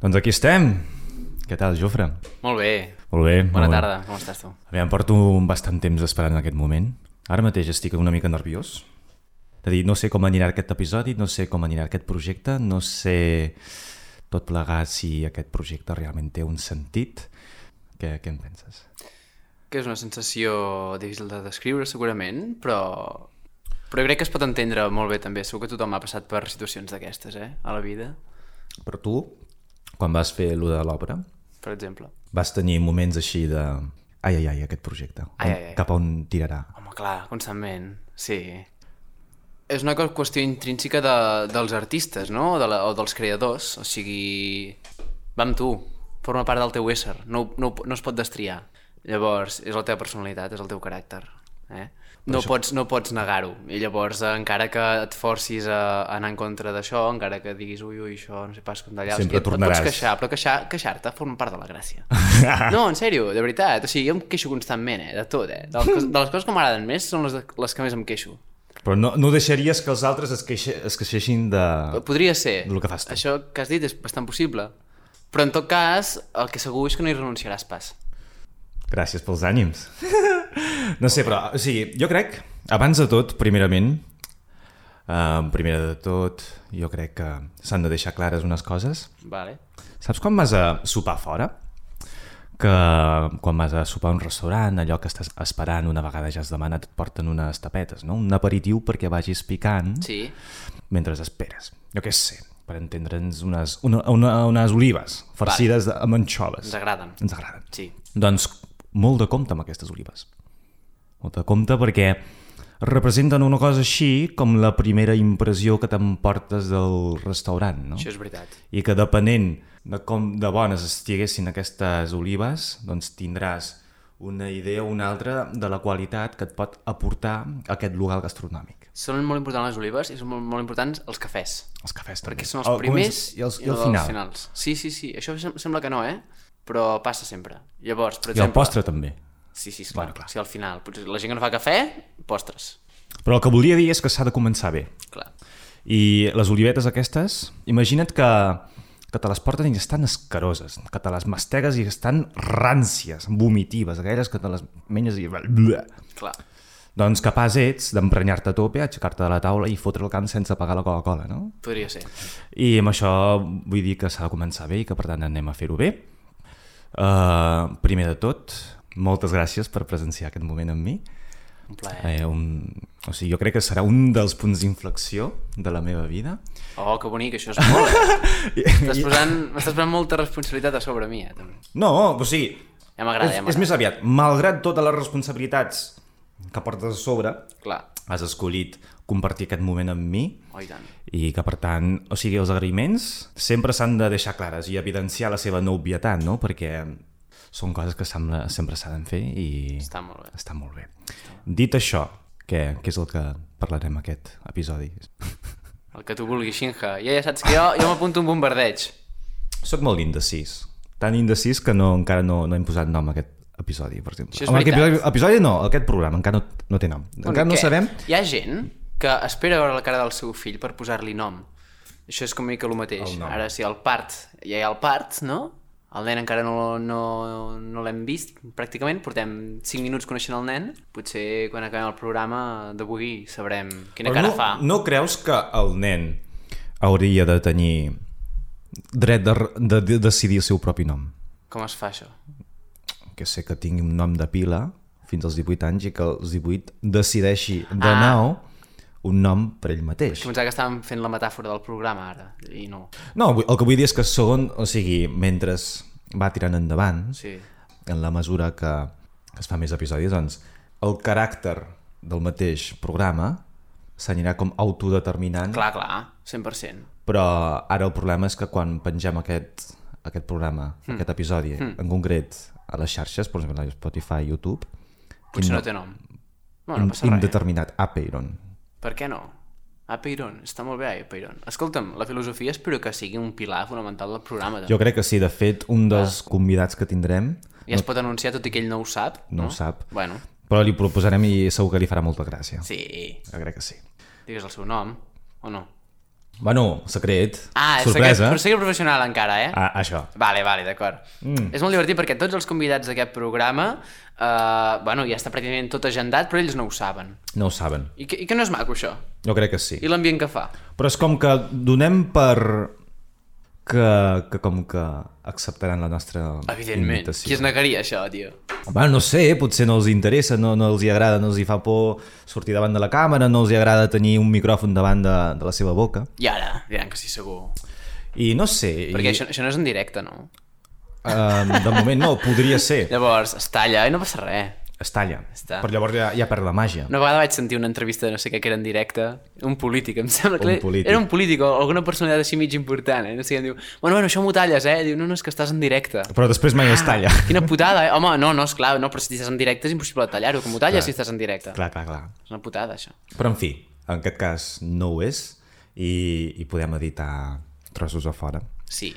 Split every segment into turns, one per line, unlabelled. Doncs aquí estem. Què tal, Jofre?
Molt bé.
Molt bé.
Bona
molt
tarda, com estàs tu?
Bé. Aviam, porto bastant temps esperant en aquest moment. Ara mateix estic una mica nerviós. És a dir, no sé com anirà aquest episodi, no sé com anirà aquest projecte, no sé tot plegat si aquest projecte realment té un sentit. Què, què en penses?
Que és una sensació difícil de descriure, segurament, però... Però crec que es pot entendre molt bé, també. Segur que tothom ha passat per situacions d'aquestes, eh? A la vida,
Però tu, quan vas fer allò de l'obra,
per exemple.
vas tenir moments així de... Ai, ai, ai, aquest projecte.
Ai,
On-
ai, ai.
Cap a on tirarà?
Home, clar, constantment, sí. És una co- qüestió intrínseca de, dels artistes, no? O, de la, o dels creadors, o sigui... Va amb tu, forma part del teu ésser, no, ho- no, ho po- no es pot destriar. Llavors, és la teva personalitat, és el teu caràcter. Eh? No, pots, no pots negar-ho. I llavors, eh, encara que et forcis a anar en contra d'això, encara que diguis ui, ui, això no sé pas com d'allà... o
Sempre
sigui, et- Et
tornaràs.
pots queixar, però queixar- queixar-te forma part de la gràcia. No, en sèrio, de veritat. O sigui, jo em queixo constantment, eh? De tot, eh? De les, cos- de les coses que m'agraden més són les, de- les que més em queixo.
Però no, no deixaries que els altres es, queixe, es queixessin de...
Eh, Podria ser.
Del que fas tu.
Això que has dit és bastant possible. Però en tot cas, el que segur és que no hi renunciaràs pas.
Gràcies pels ànims. No sé, però, o sigui, jo crec, abans de tot, primerament, eh, primer de tot, jo crec que s'han de deixar clares unes coses.
Vale.
Saps quan vas a sopar fora? Que quan vas a sopar a un restaurant, allò que estàs esperant una vegada ja has demanat, et porten unes tapetes, no? Un aperitiu perquè vagis picant
Sí.
mentre esperes. Jo què sé, per entendre'ns, unes, una, una, unes olives farcides de, amb anxoves.
Ens agraden.
Ens agraden.
Sí.
Doncs molt de compte amb aquestes olives. Molt de compte perquè representen una cosa així com la primera impressió que t'emportes del restaurant, no?
Això és veritat.
I que depenent de com de bones estiguessin aquestes olives, doncs tindràs una idea o una altra de la qualitat que et pot aportar aquest local gastronòmic.
Són molt importants les olives i són molt, molt importants els cafès.
Els cafès també.
Perquè són els
Al començ-
primers
i els, i
no
el
dels
final.
finals. Sí, sí, sí. Això sem sembla que no, eh? Però passa sempre. Llavors, per
I el
exemple...
postre també.
Sí, sí, esclar. Bueno, clar. Si al final potser la gent que no fa cafè, postres.
Però el que volia dir és que s'ha de començar bé.
Clar.
I les olivetes aquestes, imagina't que, que te les porten i estan escaroses, que te les mastegues i estan ràncies, vomitives, aquelles que te les menges i... Bleh.
Clar.
Doncs capaç ets d'emprenyar-te a tope, aixecar-te de la taula i fotre el camp sense pagar la Coca-Cola, no?
Podria ser.
I amb això vull dir que s'ha de començar bé i que per tant anem a fer-ho bé. Uh, primer de tot, moltes gràcies per presenciar aquest moment amb mi.
Un plaer.
Eh, un... O sigui, jo crec que serà un dels punts d'inflexió de la meva vida.
Oh, que bonic, això és molt. eh?
I-
M'estàs posant, m'estàs posant molta responsabilitat a sobre mi, eh, també.
No, o sigui,
Ja
és,
m'agrada, ja
és
m'agrada.
més aviat, malgrat totes les responsabilitats que portes a sobre,
Clar.
has escollit compartir aquest moment amb mi
Oh, i tant.
i que, per tant, o sigui, els agraïments sempre s'han de deixar clares i evidenciar la seva no obvietat, no? Perquè són coses que sembla, sempre s'ha de fer i
Està molt bé.
està molt bé. Dit això, què, què és el que parlarem aquest episodi?
El que tu vulguis, Xinja. Ja, ja saps que jo, jo m'apunto un bombardeig.
Soc molt indecís. Tan indecís que no, encara no, no hem posat nom a aquest episodi, per exemple.
Això és
Home, aquest
veritat.
episodi, episodi no, aquest programa encara no, no té nom. encara no
Què?
sabem...
Hi ha gent que espera veure la cara del seu fill per posar-li nom. Això és com una mica el mateix.
El nom.
Ara, si el part, ja hi ha el part, no? El nen encara no, no, no l'hem vist, pràcticament. Portem 5 minuts coneixent el nen. Potser quan acabem el programa d'avui sabrem quina
Però
cara
no,
fa.
no creus que el nen hauria de tenir dret de, re- de, de decidir el seu propi nom?
Com es fa això?
Que sé que tingui un nom de pila fins als 18 anys i que als 18 decideixi de
Ah.
nou un nom per ell mateix.
Jo pensava que estàvem fent la metàfora del programa ara, i no.
No, vull- el que vull dir és que segon, o sigui, mentre va tirant endavant,
Sí.
en la mesura que, que es fa més episodis, doncs el caràcter del mateix programa s'anirà com autodeterminant, Clar.
Clar, clar, 100%.
però ara el problema és que quan pengem aquest, aquest programa,
Hmm.
mm. aquest episodi, mm. en concret a les xarxes, per exemple, a Spotify, YouTube,
Potser no té nom. Bueno, no
in,
passa res.
indeterminat, Apeiron.
Per què no? Apeiron, està molt bé, Apeiron. Escolta'm, la filosofia espero que sigui un pilar fonamental del programa.
Jo
Jo...
crec que sí, de fet, un dels convidats que tindrem,
Ja es pot anunciar, tot i que ell no ho sap.
no, ho sap,
Bueno,
però li proposarem i segur que li farà molta gràcia.
sí,
Jo crec que sí.
digues el seu nom, o no?
Bueno, secret.
Ah, és secret,
Sorpresa.
però seguir professional encara, eh?
Ah, això.
Vale, vale, d'acord. Mm. És molt divertit perquè tots els convidats d'aquest programa eh, bueno, ja està pràcticament tot agendat, però ells no ho saben.
No ho saben.
I que, i que no és maco, això?
Jo crec que sí.
I l'ambient que fa?
Però és com que donem per que, que com que acceptaran la nostra
Evidentment.
invitació.
Qui es negaria, això, tio?
Bueno, no sé, potser no els hi interessa, no, no els hi agrada, no els hi fa por sortir davant de la càmera, no els hi agrada tenir un micròfon davant de, de la seva boca.
I ara, diran que sí, segur.
I no sé,
Perquè
i,
això, això no és en directe, no?
eh, de moment no, podria ser.
Llavors, es talla i no passa res.
Es talla,
Està.
però llavors ja, ja perd la màgia.
Una vegada vaig sentir una entrevista de no sé què que era en directe, un polític, em sembla que
Un
era-
polític.
era un polític o alguna personalitat així mig important, eh? no sé què, em diu, bueno, bueno, això m'ho talles, eh? Diu, no, no, és que estàs en directe.
Però després mai es talla.
Quina putada, eh? Home, no, no, esclar, no, però si estàs en directe és impossible de tallar-ho, com ho talles
Clar.
si estàs en directe?
Clar, clar, clar.
És una putada, això.
Però en fi, en aquest cas no ho és i, i podem editar trossos a fora.
Sí.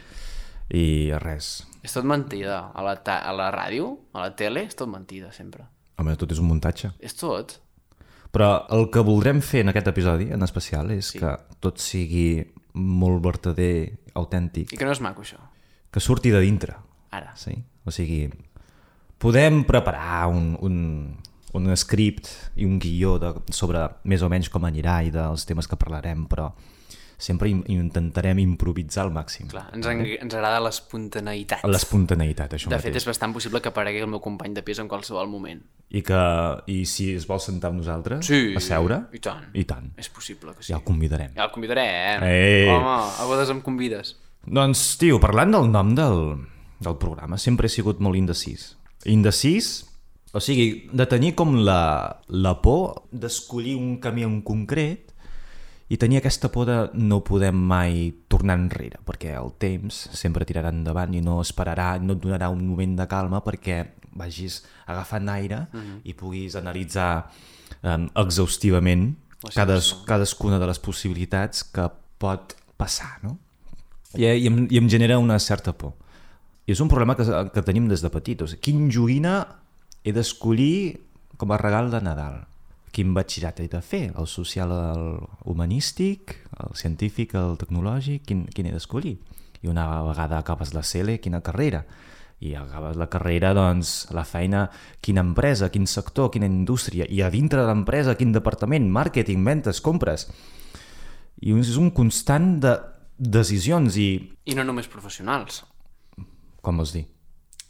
I res.
És tot mentida. A la, ta- a la ràdio, a la tele, és tot mentida, sempre.
Home, tot és un muntatge.
És tot.
Però el que voldrem fer en aquest episodi, en especial, és sí. que tot sigui molt verdader, autèntic,
I que no és maco, això.
que surti de dintre,
Ara.
sí? O sigui, podem preparar un, un, un script i un guió de, sobre més o menys com anirà i dels temes que parlarem, però sempre im- intentarem improvisar al màxim.
Clar, ens, en, ens agrada l'espontaneïtat.
L'espontaneïtat, això
De
mateix.
fet, és bastant possible que aparegui el meu company de pis en qualsevol moment.
I, que, I si es vol sentar amb nosaltres,
Sí.
a seure,
I tant.
i tant.
És possible que sí.
Ja el convidarem.
Ja el convidaré, eh?
Ei.
Home, a vegades em convides.
Doncs, tio, parlant del nom del, del programa, sempre he sigut molt indecís. Indecís, o sigui, de tenir com la, la por d'escollir un camí en concret i tenir aquesta por de no podem mai tornar enrere, perquè el temps sempre tirarà endavant i no esperarà, no et donarà un moment de calma perquè vagis agafant aire i puguis analitzar um, exhaustivament cades, cadascuna de les possibilitats que pot passar, no? I, eh, i, em, i em genera una certa por. I és un problema que, que tenim des de petit. O sigui, quin joguina he d'escollir com a regal de Nadal? Quin batxillerat he de fer? El social, el humanístic, el científic, el tecnològic? Quin, quin he d'escollir? I una vegada acabes la CL, quina carrera? I acabes la carrera, doncs, a la feina, quina empresa, quin sector, quina indústria, i a dintre de l'empresa, quin departament, màrqueting, ventes, compres. I és un constant de decisions i...
I no només professionals.
Com vols dir?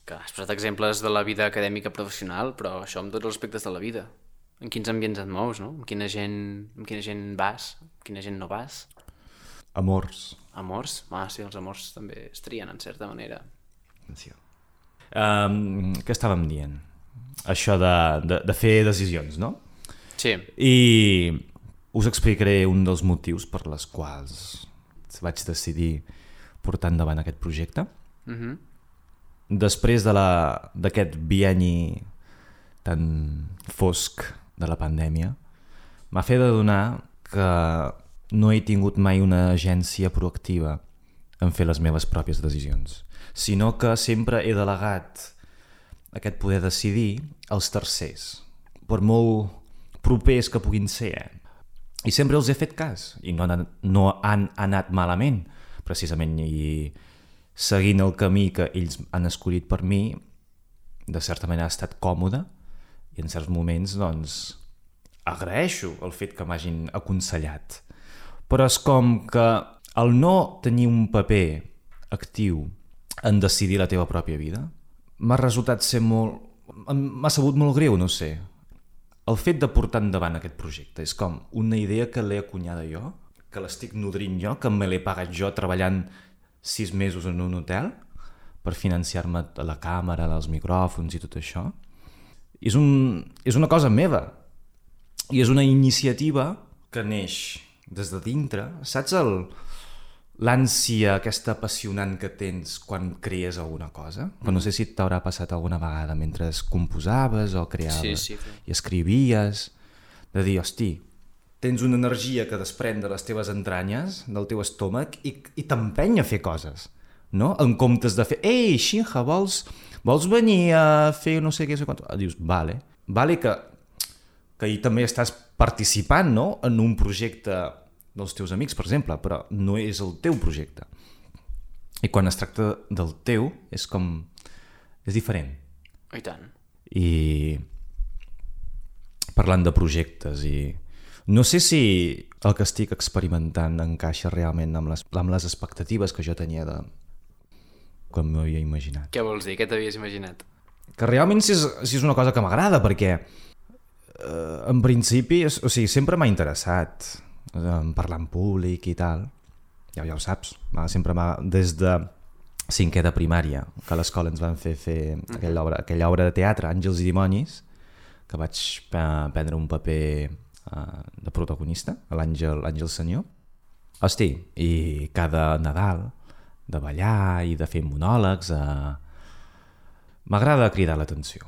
Que has posat exemples de la vida acadèmica professional, però això amb tots els aspectes de la vida. En quins ambients et mous, no? Amb quina gent, amb quina gent vas, amb quina gent no vas.
Amors.
Amors? Ah, sí, els amors també es trien, en certa manera.
Atenció. Um, què estàvem dient? Això de, de, de fer decisions, no?
Sí,
I us explicaré un dels motius per les quals vaig decidir portar endavant aquest projecte.
Mhm.
Després de la- d'aquest bienni tan fosc de la pandèmia, m'ha fet adonar que no he tingut mai una agència proactiva en fer les meves pròpies decisions, sinó que sempre he delegat aquest poder decidir als tercers, per molt propers que puguin ser. Eh? I sempre els he fet cas, i no han, no han anat malament, precisament, i seguint el camí que ells han escollit per mi, de certa manera ha estat còmode, i en certs moments, doncs, agraeixo el fet que m'hagin aconsellat. Però és com que el no tenir un paper actiu en decidir la teva pròpia vida m'ha resultat ser molt... em- m'ha sabut molt greu, no sé. El fet de portar endavant aquest projecte és com una idea que l'he acunyada jo, que l'estic nodrint jo, que me l'he pagat jo treballant sis mesos en un hotel per financiar-me la càmera, els micròfons i tot això. És, un, és una cosa meva, i és una iniciativa que neix des de dintre. Saps el l'ànsia aquesta apassionant que tens quan crees alguna cosa? Que
Mm.
no sé si t'haurà passat alguna vegada mentre composaves o creaves
Sí, sí, clar.
i escrivies, de dir, hosti, tens una energia que desprèn de les teves entranyes, del teu estómac, i, i t'empeny a fer coses, no? En comptes de fer, ei, Xinja, vols, vols venir a fer no sé què, no sé quant? Dius, vale, vale que que hi també estàs participant no? en un projecte dels teus amics, per exemple, però no és el teu projecte. I quan es tracta del teu, és com... és diferent.
I tant.
I parlant de projectes i... No sé si el que estic experimentant encaixa realment amb les, amb les expectatives que jo tenia de... com m'ho havia imaginat.
Què vols dir? Què t'havies imaginat?
que realment si és, si és una cosa que m'agrada, perquè eh, en principi, és, o sigui, sempre m'ha interessat eh, parlar en públic i tal, ja, ja ho saps, m'ha- sempre m'ha, des de cinquè de primària, que a l'escola ens van fer fer aquella obra, aquella obra de teatre, Àngels i Dimonis, que vaig eh, prendre un paper eh, de protagonista, a l'Àngel Àngel Senyor. Hosti, i cada Nadal, de ballar i de fer monòlegs, a, M'agrada cridar l'atenció.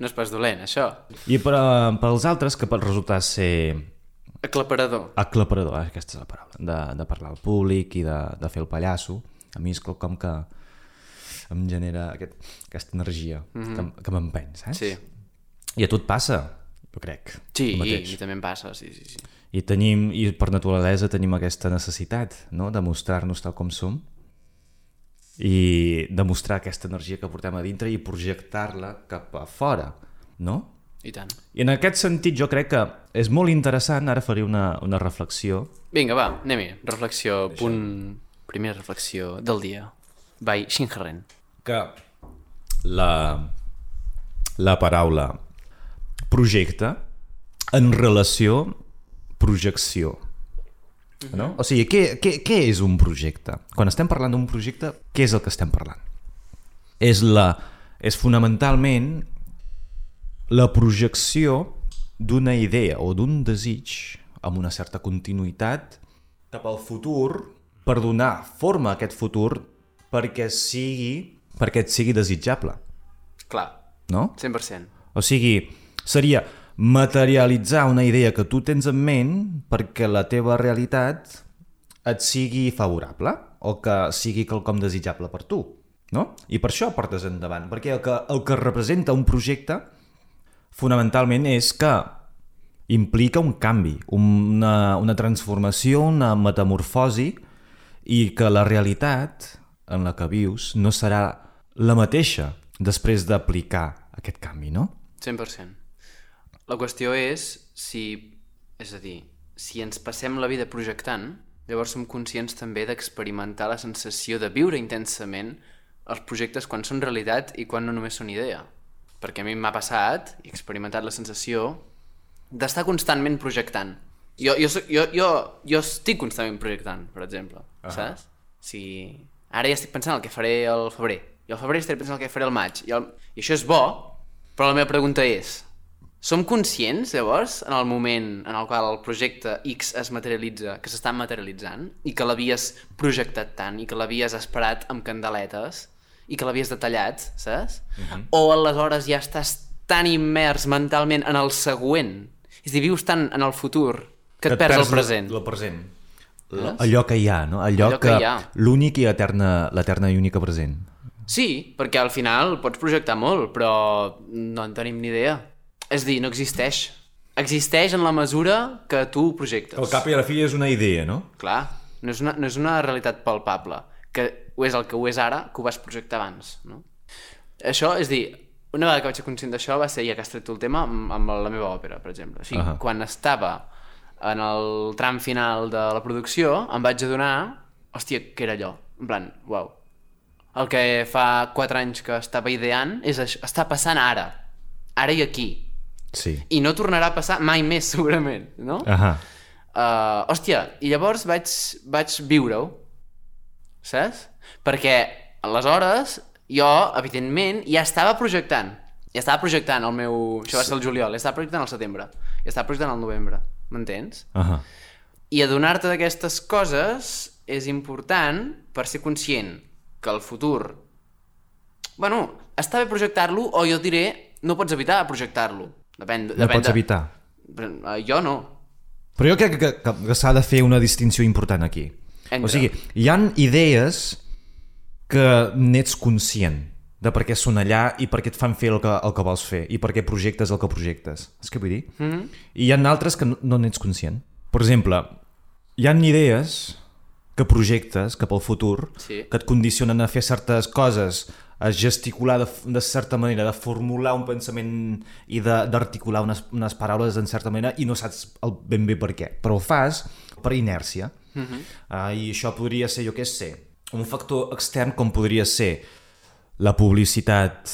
No és pas dolent, això.
I per, a- pels altres, que pot resultar ser
Aclaparador.
aclaparador, eh, aquesta és la paraula, de, de parlar al públic i de, de fer el pallasso, a mi és com que em genera aquest, aquesta energia mm -hmm. que, em- que m'empeny, saps?
Sí.
I a tu et passa, jo crec.
Sí,
el
i,
mateix.
i també em passa, sí, sí, sí.
I tenim, i per naturalesa tenim aquesta necessitat, no?, de mostrar-nos tal com som i demostrar aquesta energia que portem a dintre i projectar-la cap a fora, no?
I tant.
I en aquest sentit jo crec que és molt interessant, ara faré una, una reflexió,
Vinga, va, anem-hi. Reflexió, punt... Primera reflexió del dia. By Shinharen.
que la, la paraula projecte en relació projecció. No? O sigui, què, què, què és un projecte? Quan estem parlant d'un projecte, què és el que estem parlant? És, la, és fonamentalment la projecció d'una idea o d'un desig amb una certa continuïtat cap al futur per donar forma a aquest futur perquè sigui perquè et sigui desitjable,
Clar,
no?
100%.
O sigui, seria materialitzar una idea que tu tens en ment perquè la teva realitat et sigui favorable o que sigui quelcom desitjable per tu, no? I per això portes endavant, perquè el que, el que representa un projecte fonamentalment és que implica un canvi, una, una transformació, una metamorfosi i que la realitat en la que vius no serà la mateixa després d'aplicar aquest canvi, no?
100%. La qüestió és si... És a dir, si ens passem la vida projectant, llavors som conscients també d'experimentar la sensació de viure intensament els projectes quan són realitat i quan no només són idea. Perquè a mi m'ha passat i he experimentat la sensació d'estar constantment projectant. Jo, jo, soc- jo, jo, jo estic constantment projectant, per exemple, uh -huh. saps? O sigui, ara ja estic pensant el que faré al febrer, i al febrer estaré pensant el que faré al maig, i, el... i això és bo, però la meva pregunta és, som conscients, llavors, en el moment en el qual el projecte X es materialitza, que s'està materialitzant, i que l'havies projectat tant, i que l'havies esperat amb candeletes, i que l'havies detallat, saps? Uh -huh. O aleshores ja estàs tan immers mentalment en el següent, és a dir, vius tant en el futur que et, et perds, perds el present.
El, el present. La, allò que hi ha, no? Allò,
Allò
que,
que hi
que
ha.
l'únic i eterna, l'eterna i única present.
Sí, perquè al final pots projectar molt, però no en tenim ni idea. És a dir, no existeix. Existeix en la mesura que tu ho projectes.
El cap i la fi és una idea, no?
Clar, no és, una, no és una realitat palpable, que ho és el que ho és ara, que ho vas projectar abans, no? Això, és dir, una vegada que vaig ser conscient d'això va ser, ja que has tret tu el tema, amb, amb la meva òpera, per exemple. O sigui, uh
Ahà.
-huh. quan estava en el tram final de la producció, em vaig adonar, hòstia, què era allò? En plan, uau, el que fa 4 anys que estava ideant és això, està passant ara, ara i aquí.
Sí.
I no tornarà a passar mai més, segurament, no?
Ahà.
Uh, hòstia, i llavors vaig, vaig viure-ho, saps? Perquè aleshores jo, evidentment, ja estava projectant. Ja estava projectant el meu... Això va ser el juliol, ja estava projectant el setembre, ja estava projectant el novembre, m'entens?
Ahà.
I adonar-te d'aquestes coses és important per ser conscient que el futur... Bueno, està bé projectar-lo o jo et diré no pots evitar projectar-lo. Depèn,
No
depèn
pots
de...
evitar.
Però, eh, jo no.
Però jo crec que, que, que s'ha de fer una distinció important aquí.
Entre.
O sigui, hi han idees que n'ets conscient de per què són allà i per què et fan fer el que, el que
Mhm.
vols fer i per què projectes el que projectes. És que vull dir? Mm -hmm. I hi ha altres que no, no n'ets conscient. Per exemple, hi han idees que projectes cap al futur
Sí.
que et condicionen a fer certes coses, a gesticular de, f- de certa manera, de formular un pensament i de- d'articular unes, unes paraules en certa manera i no saps el, ben bé per què, però ho fas per inèrcia. Uh -huh. uh, I això podria ser, jo què sé, un factor extern com podria ser la publicitat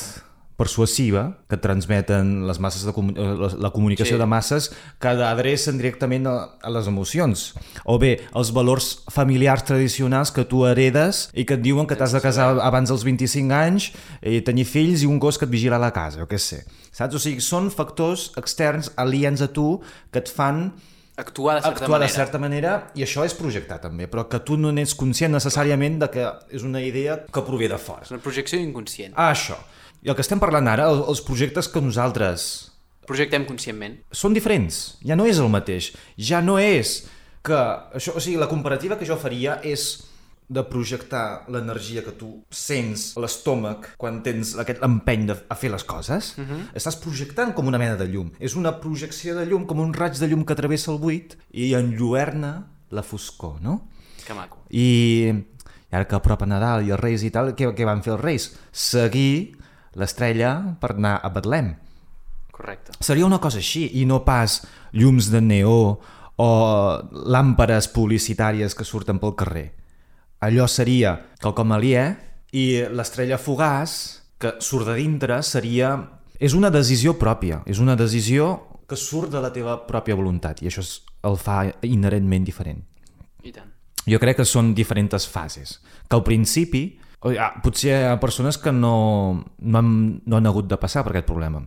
persuasiva que transmeten les masses de comu eh, les- la comunicació sí.
Sí.
de masses que adrecen directament a, a les emocions o bé els valors familiars tradicionals que tu heredes i que et diuen que t'has de casar abans dels 25 anys i tenir fills i un gos que et vigila a la casa, o què sé saps? O sigui, són factors externs aliens a tu que et fan
Actuar de certa
actuar
manera.
de certa manera i això és projectar també, però que tu no n'ets conscient necessàriament de que és una idea que prové de fora.
És una projecció inconscient.
Ah, això. I el que estem parlant ara, el- els projectes que nosaltres...
Projectem conscientment.
Són diferents. Ja no és el mateix. Ja no és que... Això, o sigui, la comparativa que jo faria és de projectar l'energia que tu sents a l'estómac quan tens aquest empeny de, a fer les coses. Uh -huh. Estàs projectant com una mena de llum. És una projecció de llum, com un raig de llum que travessa el buit i enlluerna la foscor, no?
Que maco.
I, i ara que apropa Nadal i els Reis i tal, què, què van fer els Reis? Seguir l'estrella per anar a Betlem.
Correcte.
Seria una cosa així, i no pas llums de neó o làmperes publicitàries que surten pel carrer. Allò seria quelcom aliè i l'estrella fugaç, que surt de dintre, seria... És una decisió pròpia, és una decisió que surt de la teva pròpia voluntat, i això es, el fa inherentment diferent
I tant.
jo crec que són diferents fases. Que al principi, o hi ha- potser hi ha persones que no, no, han, no han hagut de passar per aquest problema.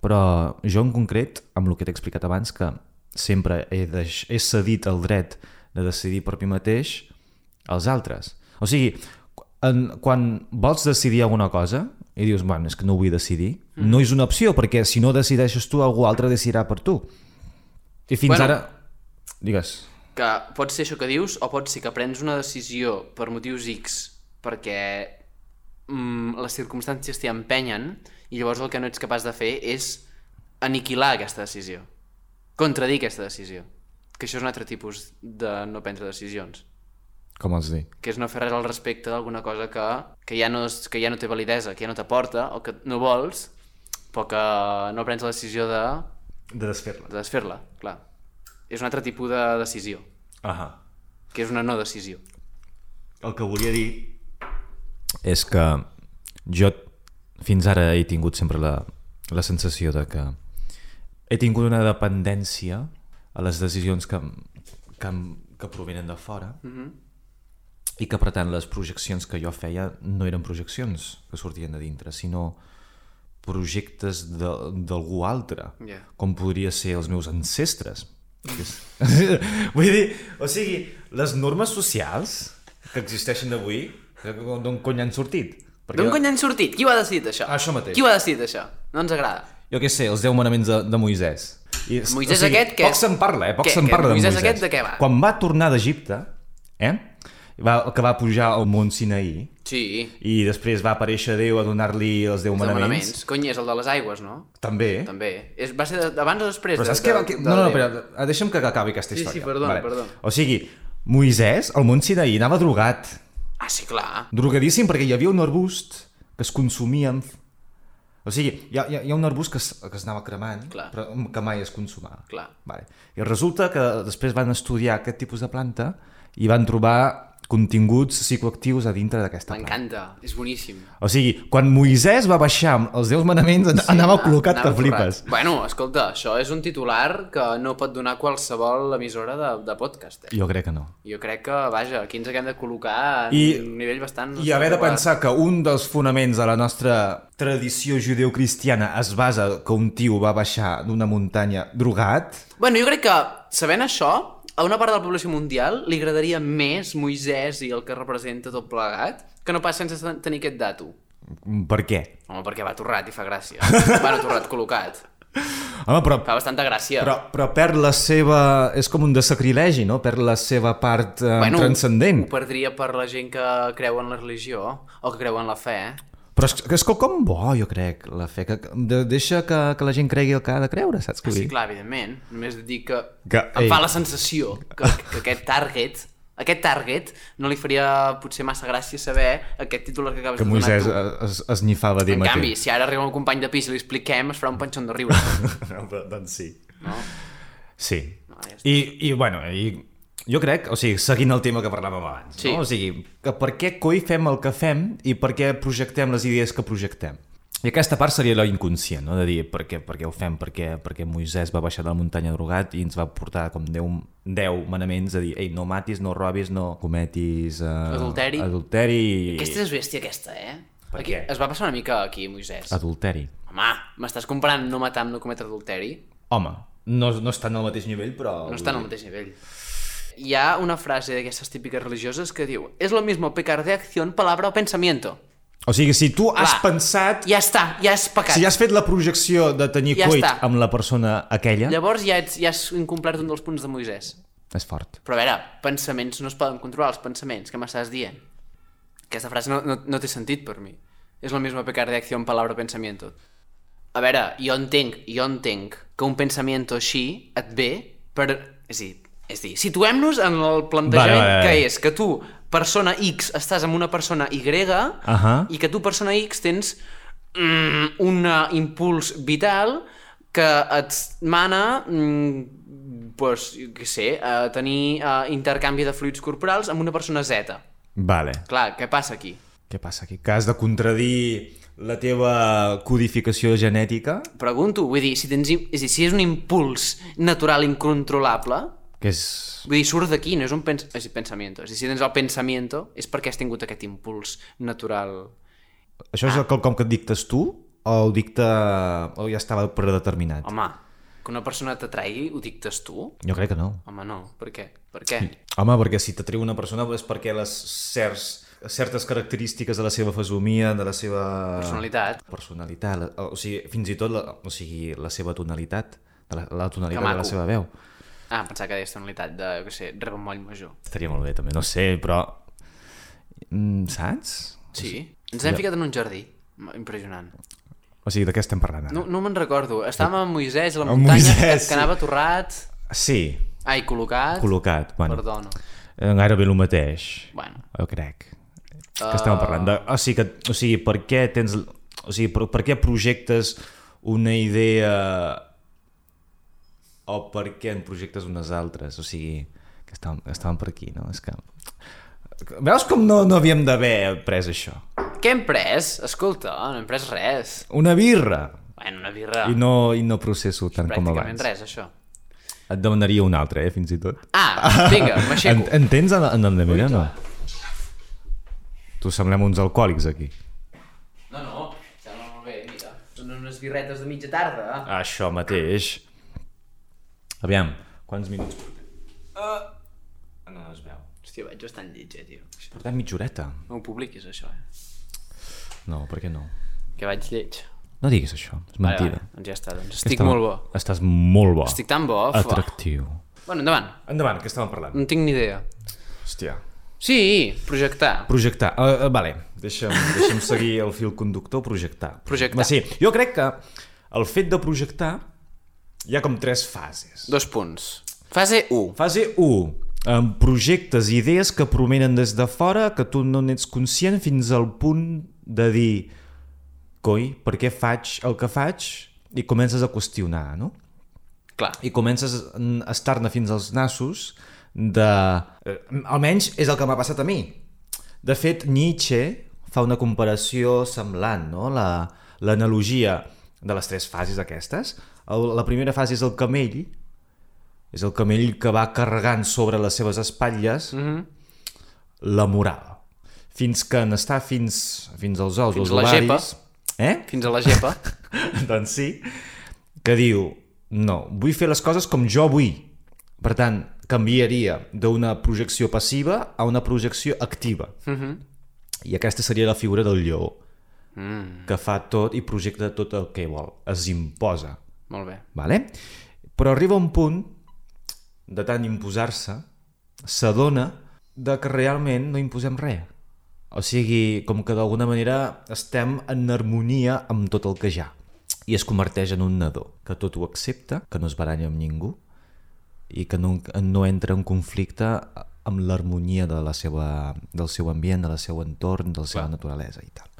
Però jo en concret, amb el que t'he explicat abans, que sempre he, deix... he cedit el dret de decidir per mi mateix als altres. O sigui, qu- en, quan vols decidir alguna cosa i dius, bueno, és que no ho vull decidir, mm. no és una opció, perquè si no decideixes tu, algú altre decidirà per tu. I fins
Bueno.
bueno. ara... Digues.
que pot ser això que dius o pot ser que prens una decisió per motius X perquè mm, les circumstàncies t'hi empenyen i llavors el que no ets capaç de fer és aniquilar aquesta decisió contradir aquesta decisió que això és un altre tipus de no prendre decisions
Com els dic?
que és no fer res al respecte d'alguna cosa que, que, ja no és, que ja no té validesa, que ja no t'aporta o que no vols però que no prens la decisió de,
De desfer-la.
de desfer-la, clar és un altre tipus de decisió
Ahà.
que és una no decisió
El que volia dir és que jo fins ara he tingut sempre la, la sensació de que he tingut una dependència a les decisions que, em- que, em- que provenen de fora mm -hmm. i que per tant les projeccions que jo feia no eren projeccions que sortien de dintre, sinó projectes de- d'algú altre,
Ja.
com podria ser els meus ancestres. Que és- Vull dir, o sigui, les normes socials que existeixen avui, que- d'on cony han sortit?
D'on cony han sortit? Qui ho ha decidit, això?
Ah, Això mateix.
Qui ho ha decidit, això? No ens agrada.
Jo què sé, els 10 manaments de, de Moisès. I,
El Moisès aquest, què-
Poc se'n parla, eh? Poc
què-
se'n
què-
parla de
Moisès
Moisès.
aquest de què va?
Quan va tornar d'Egipte, eh? Va, que va pujar al mont Sinaí
Sí.
i després va aparèixer Déu a donar-li els 10 manaments.
Demanaments. Cony, és el de les aigües, no?
També.
També. És, va ser de- abans o després?
Però
de-
saps què? va-
de-
que-
de-
No, no,
de-
però deixa'm que acabi aquesta
Sí, sí,
història.
perdona, perdona.
O sigui, Moisès, al mont Sinaí, anava drogat.
Ah, sí, clar.
drogadíssim perquè hi havia un arbust que es consumia amb... O sigui, hi ha, hi ha- hi ha un arbust que es, que es anava cremant,
Clar.
però que mai es consumava.
Clar.
Vale. I resulta que després van estudiar aquest tipus de planta i van trobar continguts psicoactius a dintre d'aquesta planta.
M'encanta. És boníssim.
O sigui, quan Moisès va baixar amb els deus manaments an anava col·locat
Anava
que flipes.
forrat. Bueno, escolta, això és un titular que no pot donar qualsevol emissora de, de podcast, eh?
Jo crec que no.
Jo crec que, vaja, aquí ens haguem de col·locar en
I-
un nivell bastant...
I haver de pensar que un dels fonaments de la nostra tradició judeocristiana es basa que un tio va baixar d'una muntanya drogat,
Bueno, jo crec que, sabent això, a una part de la població mundial li agradaria més Moisès i el que representa tot plegat que no pas sense ten- tenir aquest dato.
per què?
Home, perquè va torrat i fa gràcia. bueno, torrat, col·locat.
Home, però,
Fa bastanta gràcia.
però, però perd la seva... És com un desacrilegi, no? Perd la seva part eh, bueno, transcendent.
Ho perdria per la gent que creu en la religió o que creu en la fe.
Però és, és com bo, jo crec, la fe. Que, de, deixa que, que la gent cregui el que ha de creure, saps? què vull
Ah, Sí,
dir?
clar, evidentment. Només de dir que,
Que-
que em fa
ei.
la sensació que, que aquest target aquest target no li faria potser massa gràcia saber aquest titular que acabes
que
de donar
Moisès
tu.
es, es, esnifava dir
En
mateix.
canvi, si ara arriba un company de pis i li expliquem, es farà un panxón de riure.
Do- doncs sí.
No?
Sí.
ja està.
I, I, bueno, i jo crec, o sigui, seguint el tema que parlàvem abans,
Sí.
no? o sigui, que per què coi fem el que fem i per què projectem les idees que projectem. I aquesta part seria allò inconscient, no? de dir per què, per què ho fem, per què, per què Moisès va baixar de la muntanya drogat i ens va portar com 10, 10 manaments de dir ei, no matis, no robis, no cometis... Eh,
Adulteri.
Adulteri. i-
Aquesta és bèstia, aquesta, eh?
Per
aquí,
què? Ah.
Es va passar una mica aquí, Moisès.
Adulteri.
Home, m'estàs comparant no matar amb no cometre adulteri?
Home, no, no estan al mateix nivell, però...
No estan al mateix nivell. Hi ha una frase d'aquestes típiques religioses que diu «Es lo mismo pecar de acción, palabra o pensamiento».
O sigui, si tu has
Clar.
pensat
Ja està, ja és pecat.
Si ja has fet la projecció de tenir
Ja
ja coit
està.
amb la persona aquella, ja...
Llavors ja, ets, ja has incomplert un dels punts de Moisès.
és fort.
Però a veure, pensaments no es poden controlar, els pensaments, què m'estàs dient? Aquesta frase no, no, no té sentit per mi. És la misma pecar de acció en palabra o pensamiento. A veure, jo entenc, jo entenc que un pensamiento així et ve per... És a dir, és a dir situem-nos en el plantejament
Vale, vale, vale.
que és que tu, persona X, estàs amb una persona Y
Ahà.
i que tu, persona X, tens mm, un eh, impuls vital que et mana mm, pues, jo què sé, eh, tenir eh, intercanvi de fluids corporals amb una persona Z.
Vale.
Clar, què passa aquí?
Què passa aquí? Que has de contradir la teva codificació genètica,
Pregunto, vull dir, si, tens, im- és a dir, si és un impuls natural incontrolable,
que és...
vull dir, surt d'aquí, no és un pens és pensamiento. És a dir, si tens el pensamiento, és perquè has tingut aquest impuls natural.
Això
Ah.
és quelcom que et dictes tu? O ho dicta... O ja estava predeterminat?
Home, que una persona t'atraigui, ho dictes tu?
Jo crec que no.
Home, no. Per què? Per què?
Home, perquè si t'atreu una persona és perquè les certs, certes característiques de la seva fesomia, de la seva...
Personalitat.
personalitat, la, o sigui, fins i tot la, o sigui, la seva tonalitat, de la, la tonalitat de
maco.
la seva veu.
Ah, pensava que deies tonalitat de, jo què sé, rebemoll major.
Estaria molt bé també, no sé, però... Mm, saps?
Sí. Ens hem ficat en un jardí. Impressionant.
O sigui, de què estem parlant ara?
No, no me'n recordo. Estàvem amb Moisès a la
Amb
muntanya, que,
Moisés,
que anava torrat...
Sí,
Ai, col·locat.
col·locat, bueno,
Perdona.
eh, gairebé el mateix,
Bueno,
jo crec, que estàvem parlant. De,
Ah.
o, sigui que, o sigui, per què tens... O sigui, per, per què projectes una idea o per què en projectes unes altres? O sigui, que estàvem, estàvem per aquí, no? És que... Veus com no, no havíem d'haver pres això?
què hem pres? Escolta, no hem pres res.
Una birra!
Bueno, una birra.
I no, i no processo tant com
Pràcticament
abans.
res, això.
Et demanaria un altre, eh, fins i tot.
Ah, vinga,
En,
m'aixeco.
en tens en, en el nevera, no? Tu semblem uns alcohòlics, aquí.
No, no, sembla molt bé, mira. Són unes birretes de mitja tarda.
Això mateix. Aviam, quants minuts portem? Uh... No, no es veu.
Hòstia, vaig bastant lleig, eh, tio.
Portem mitjoreta.
No ho publiquis, això, eh?
No, per què no?
Que vaig lleig.
No diguis això, és mentida.
Vale, doncs ja està, doncs estic molt bo.
Estàs molt bo.
Estic tan bo, fa.
Atractiu.
Bueno, endavant.
Endavant, que estàvem parlant?
No tinc ni idea.
Hòstia.
Sí, projectar.
Projectar. Uh, uh, vale, deixa'm, deixa'm seguir el fil conductor, projectar.
Projectar.
Va, Sí, jo crec que el fet de projectar hi ha com tres fases.
Dos punts. Fase 1.
Fase 1. Em projectes idees que promenen des de fora que tu no n'ets conscient fins al punt de dir coi, per què faig el que faig? I comences a qüestionar, no?
Clar.
i comences a estar-ne fins als nassos de... eh, Almenys és el que m'ha passat a mi. De fet, Nietzsche fa una comparació semblant, no? La- L'analogia la, de les tres fases aquestes. El, la primera fase és el camell, és el camell que va carregant sobre les seves espatlles mm
Mhm.
-hmm. la moral. Fins que n'està fins, fins als ous,
Fins
als
la gepa.
ovaris. Eh?
Fins a la gepa.
doncs sí, que diu, no, vull fer les coses com jo vull. Per tant, canviaria d'una projecció passiva a una projecció activa. I aquesta seria la figura del lleó, mm. que fa tot i projecta tot el que vol, es imposa.
Molt bé.
Vale? Però arriba un punt de tant imposar-se, s'adona de que realment no imposem res. O sigui, com que d'alguna manera estem en harmonia amb tot el que ja. I es converteix en un nadó, que tot ho accepta, que no es baralla amb ningú i que no, no entra en conflicte amb l'harmonia de la seva, del seu ambient, de la seu entorn, de la seva naturalesa i tal.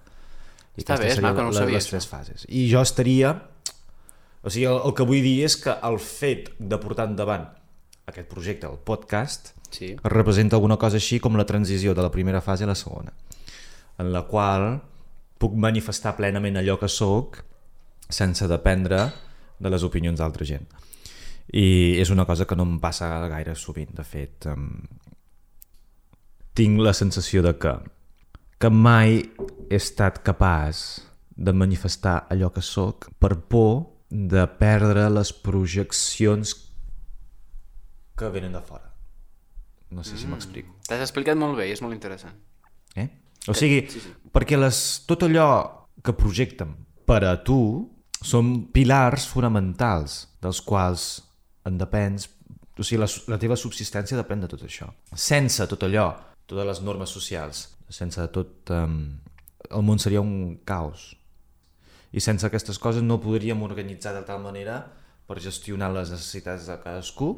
I
Està bé,
aquestes
és maco,
serien
no ho
les-
sabia,
Les
això.
tres fases. I jo estaria... O sigui, el, el que vull dir és que el fet de portar endavant aquest projecte, el podcast,
Sí.
representa alguna cosa així com la transició de la primera fase a la segona, en la qual puc manifestar plenament allò que sóc sense dependre de les opinions d'altra gent. I és una cosa que no em passa gaire sovint, de fet. Um, tinc la sensació de que, que mai he estat capaç de manifestar allò que sóc per por de perdre les projeccions que venen de fora. No sé si m'explico.
T'has explicat molt bé i és molt interessant.
Eh? O sigui, sí, sí. perquè les, tot allò que projecten per a tu són pilars fonamentals dels quals en depens... O sigui, la, su- la teva subsistència depèn de tot això. Sense tot allò, totes les normes socials, sense tot... Um, el món seria un caos. I sense aquestes coses no podríem organitzar de tal manera per gestionar les necessitats de cadascú,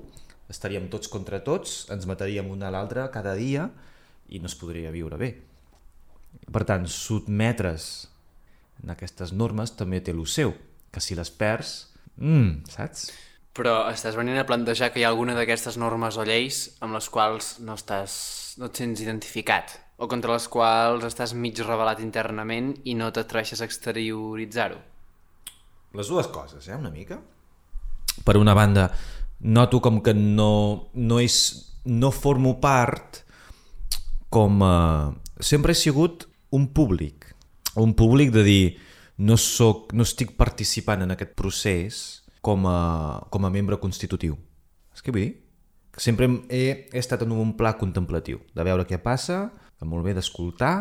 estaríem tots contra tots, ens mataríem un a l'altre cada dia i no es podria viure bé. Per tant, sotmetre's en aquestes normes també té lo seu, que si les perds, mm, saps?
Però estàs venint a plantejar que hi ha alguna d'aquestes normes o lleis amb les quals no, estàs, no et sents identificat o contra les quals estàs mig revelat internament i no t'atreveixes a exterioritzar-ho.
Les dues coses, eh, una mica. Per una banda, noto com que no, no, és, no formo part com a... Sempre he sigut un públic. Un públic de dir, no, soc, no estic participant en aquest procés com a, com a membre constitutiu. És que vull dir? Que sempre em- he, he estat en un pla contemplatiu, de veure què passa, de molt bé d'escoltar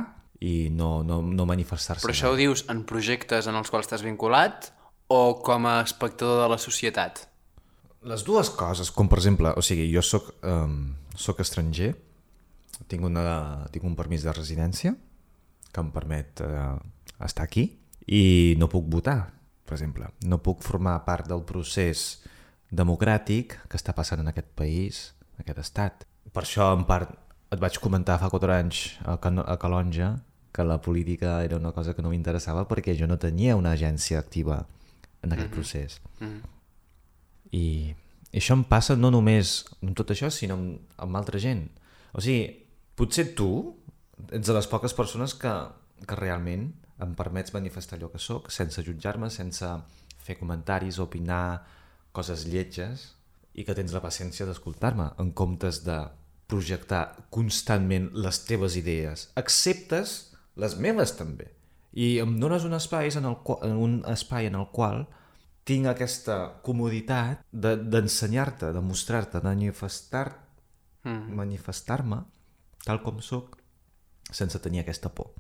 i no, no, no manifestar-se.
Però això ho dius en projectes en els quals estàs vinculat o com a espectador de la societat?
Les dues coses, com per exemple, o sigui, jo sóc, um, sóc estranger, tinc, una, tinc un permís de residència que em permet uh, estar aquí i no puc votar, per exemple. No puc formar part del procés democràtic que està passant en aquest país, en aquest estat. Per això, en part, et vaig comentar fa 4 anys a, Can a Calonja que la política era una cosa que no m'interessava perquè jo no tenia una agència activa en aquest mm -hmm. procés. I això em passa no només amb tot això, sinó amb, amb altra gent. O sigui, potser tu ets de les poques persones que, que realment em permets manifestar allò que sóc, sense jutjar-me, sense fer comentaris, opinar coses lletges, i que tens la paciència d'escoltar-me, en comptes de projectar constantment les teves idees. Acceptes les meves també. I em dones un espai en el, qual, un espai en el qual tinc aquesta comoditat de- d'ensenyar-te, de, de mostrar-te, de manifestar, mm. manifestar-me tal com sóc, sense tenir aquesta por.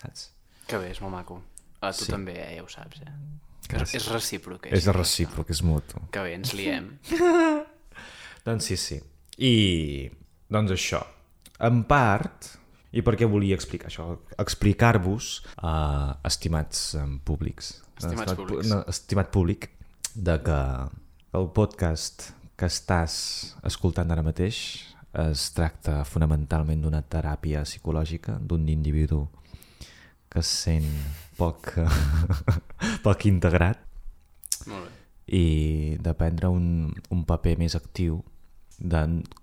Saps?
Que bé, és molt maco. A tu sí. també, eh? ja ho saps. Eh? És,
Gràcies.
és recíproc.
És
És...
recíproc, és mutu.
Que bé, ens liem.
Doncs sí, sí. I, doncs això, en part, i per què volia explicar això? Explicar-vos, eh, estimats eh, públics,
Estimats
estimat, pu-
públics.
No, estimat públic, de que el podcast que estàs escoltant ara mateix es tracta fonamentalment d'una teràpia psicològica d'un individu que es sent poc, poc integrat
molt bé.
i de prendre un, un paper més actiu, de,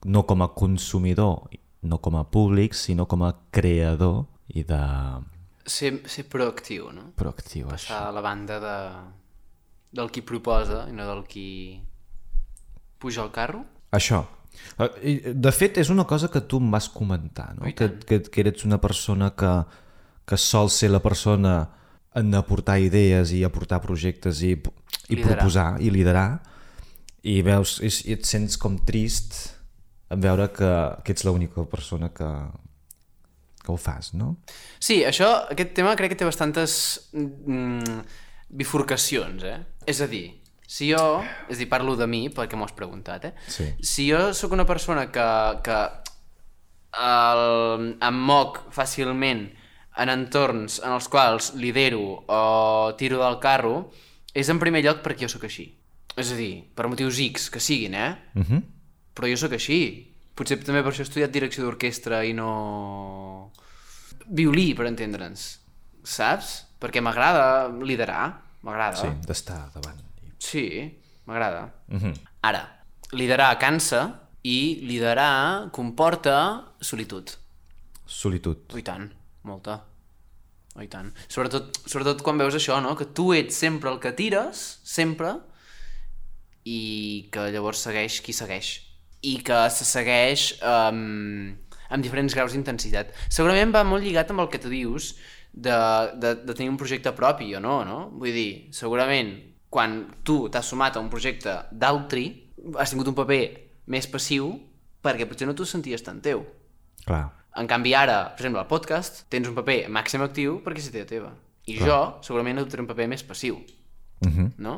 no com a consumidor, no com a públic, sinó com a creador i de
Ser, ser proactiu, no?
proactiu. Això.
Passar a la banda de... del qui proposa i no del qui puja al carro.
això. Eh, i, De fet, és una cosa que tu em vas comentar,
Oh,
no? Que, que, que eres una persona que, que sol ser la persona en aportar idees i aportar projectes i, i
Liderar.
proposar i liderar i veus i, i et sents com trist en veure que, que ets l'única persona que, que ho fas, no?
Sí, això, aquest tema crec que té bastantes mm, bifurcacions, eh? És a dir, si jo, és a dir, parlo de mi perquè m'ho has preguntat, eh?
Sí.
Si jo sóc una persona que, que el, em moc fàcilment en entorns en els quals lidero o tiro del carro és en primer lloc perquè jo sóc així. És a dir, per motius X que siguin, eh?
Uh -huh.
Però jo sóc així. Potser també per això he estudiat direcció d'orquestra i no... Violí, per entendre'ns. Saps? Perquè m'agrada liderar. M'agrada.
Sí, d'estar davant.
Sí, m'agrada.
Uh -huh.
Ara, liderar cansa i liderar comporta solitud.
Solitud.
Oh, I tant, molta. Oh, I tant. Sobretot, sobretot quan veus això, no? Que tu ets sempre el que tires, sempre, i que llavors segueix qui segueix. I que se segueix um, amb diferents graus d'intensitat. Segurament va molt lligat amb el que tu dius de, de, de tenir un projecte propi o no, no? Vull dir, segurament quan tu t'has sumat a un projecte d'altri, has tingut un paper més passiu perquè potser no t'ho senties tan teu.
Clar.
En canvi, ara, per exemple, al podcast, tens un paper màxim actiu perquè és idea teva. I Clar. jo, segurament, adoptaré un paper més passiu,
Uh -huh.
no?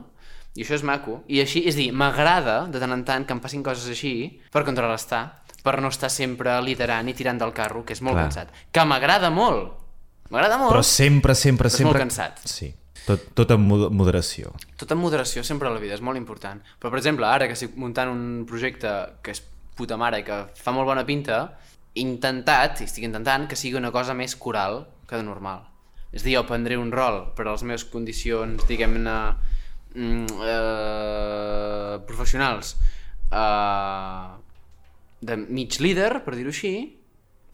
I això és maco. I així, és a dir, m'agrada de tant en tant que em passin coses així per contrarrestar, per no estar sempre liderant i tirant del carro, que és molt
Clar.
Clar. cansat. Que m'agrada molt! M'agrada molt,
Però
Però...
sempre, sempre,
és
sempre...
Oh. molt cansat.
Sí. Tot, tot amb mod- moderació.
tot en tota moderació sempre a la vida, és molt important. Però, per exemple, ara que estic muntant un projecte que és puta mare i que fa molt bona pinta, he intentat, i estic intentant, que sigui una cosa més coral que de normal. És a dir, jo prendré un rol per a les meves condicions, diguem-ne, mm, eh, professionals, eh, de mig líder, per dir-ho així,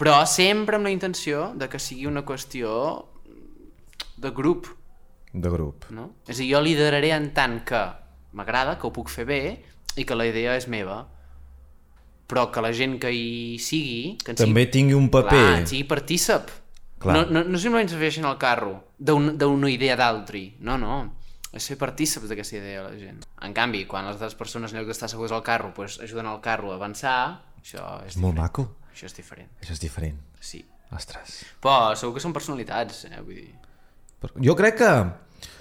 però sempre amb la intenció de que sigui una qüestió de grup,
De grup.
no? És a dir, jo lideraré en tant que m'agrada, que ho puc fer bé i que la idea és meva. Però que la gent que hi sigui... Que en
També tingui un
sigui, clar, en
paper.
sigui partícip.
Clar.
No, no, no simplement s'afegeixen al carro d'un- d'una idea d'altri. No, no. És ser partícips d'aquesta idea la gent. En canvi, quan les altres persones en lloc d'estar segures al carro pues, ajuden al carro a avançar, això és,
És molt maco.
això és diferent.
Això és diferent.
Sí.
Ostres.
Però segur que són personalitats, eh? Vull dir...
Però Jo crec que...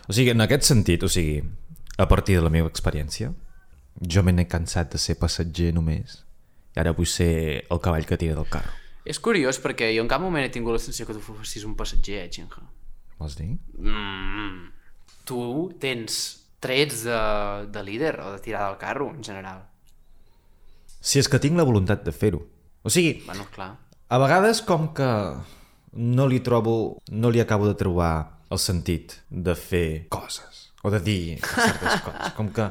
O sigui, en aquest sentit, o sigui, a partir de la meva experiència, jo me n'he cansat de ser passatger només i ara vull ser el cavall que tira del carro.
És curiós perquè jo en cap moment he tingut la sensació que tu fossis un passatger, eh, Xinja?
Vols dir?
Mm. Tu tens trets de, de líder o de tirar del carro, en general.
Si és que tinc la voluntat de fer-ho. O sigui,
Bueno, clar.
a vegades com que no li trobo, no li acabo de trobar el sentit de fer coses o de dir certes coses. Com que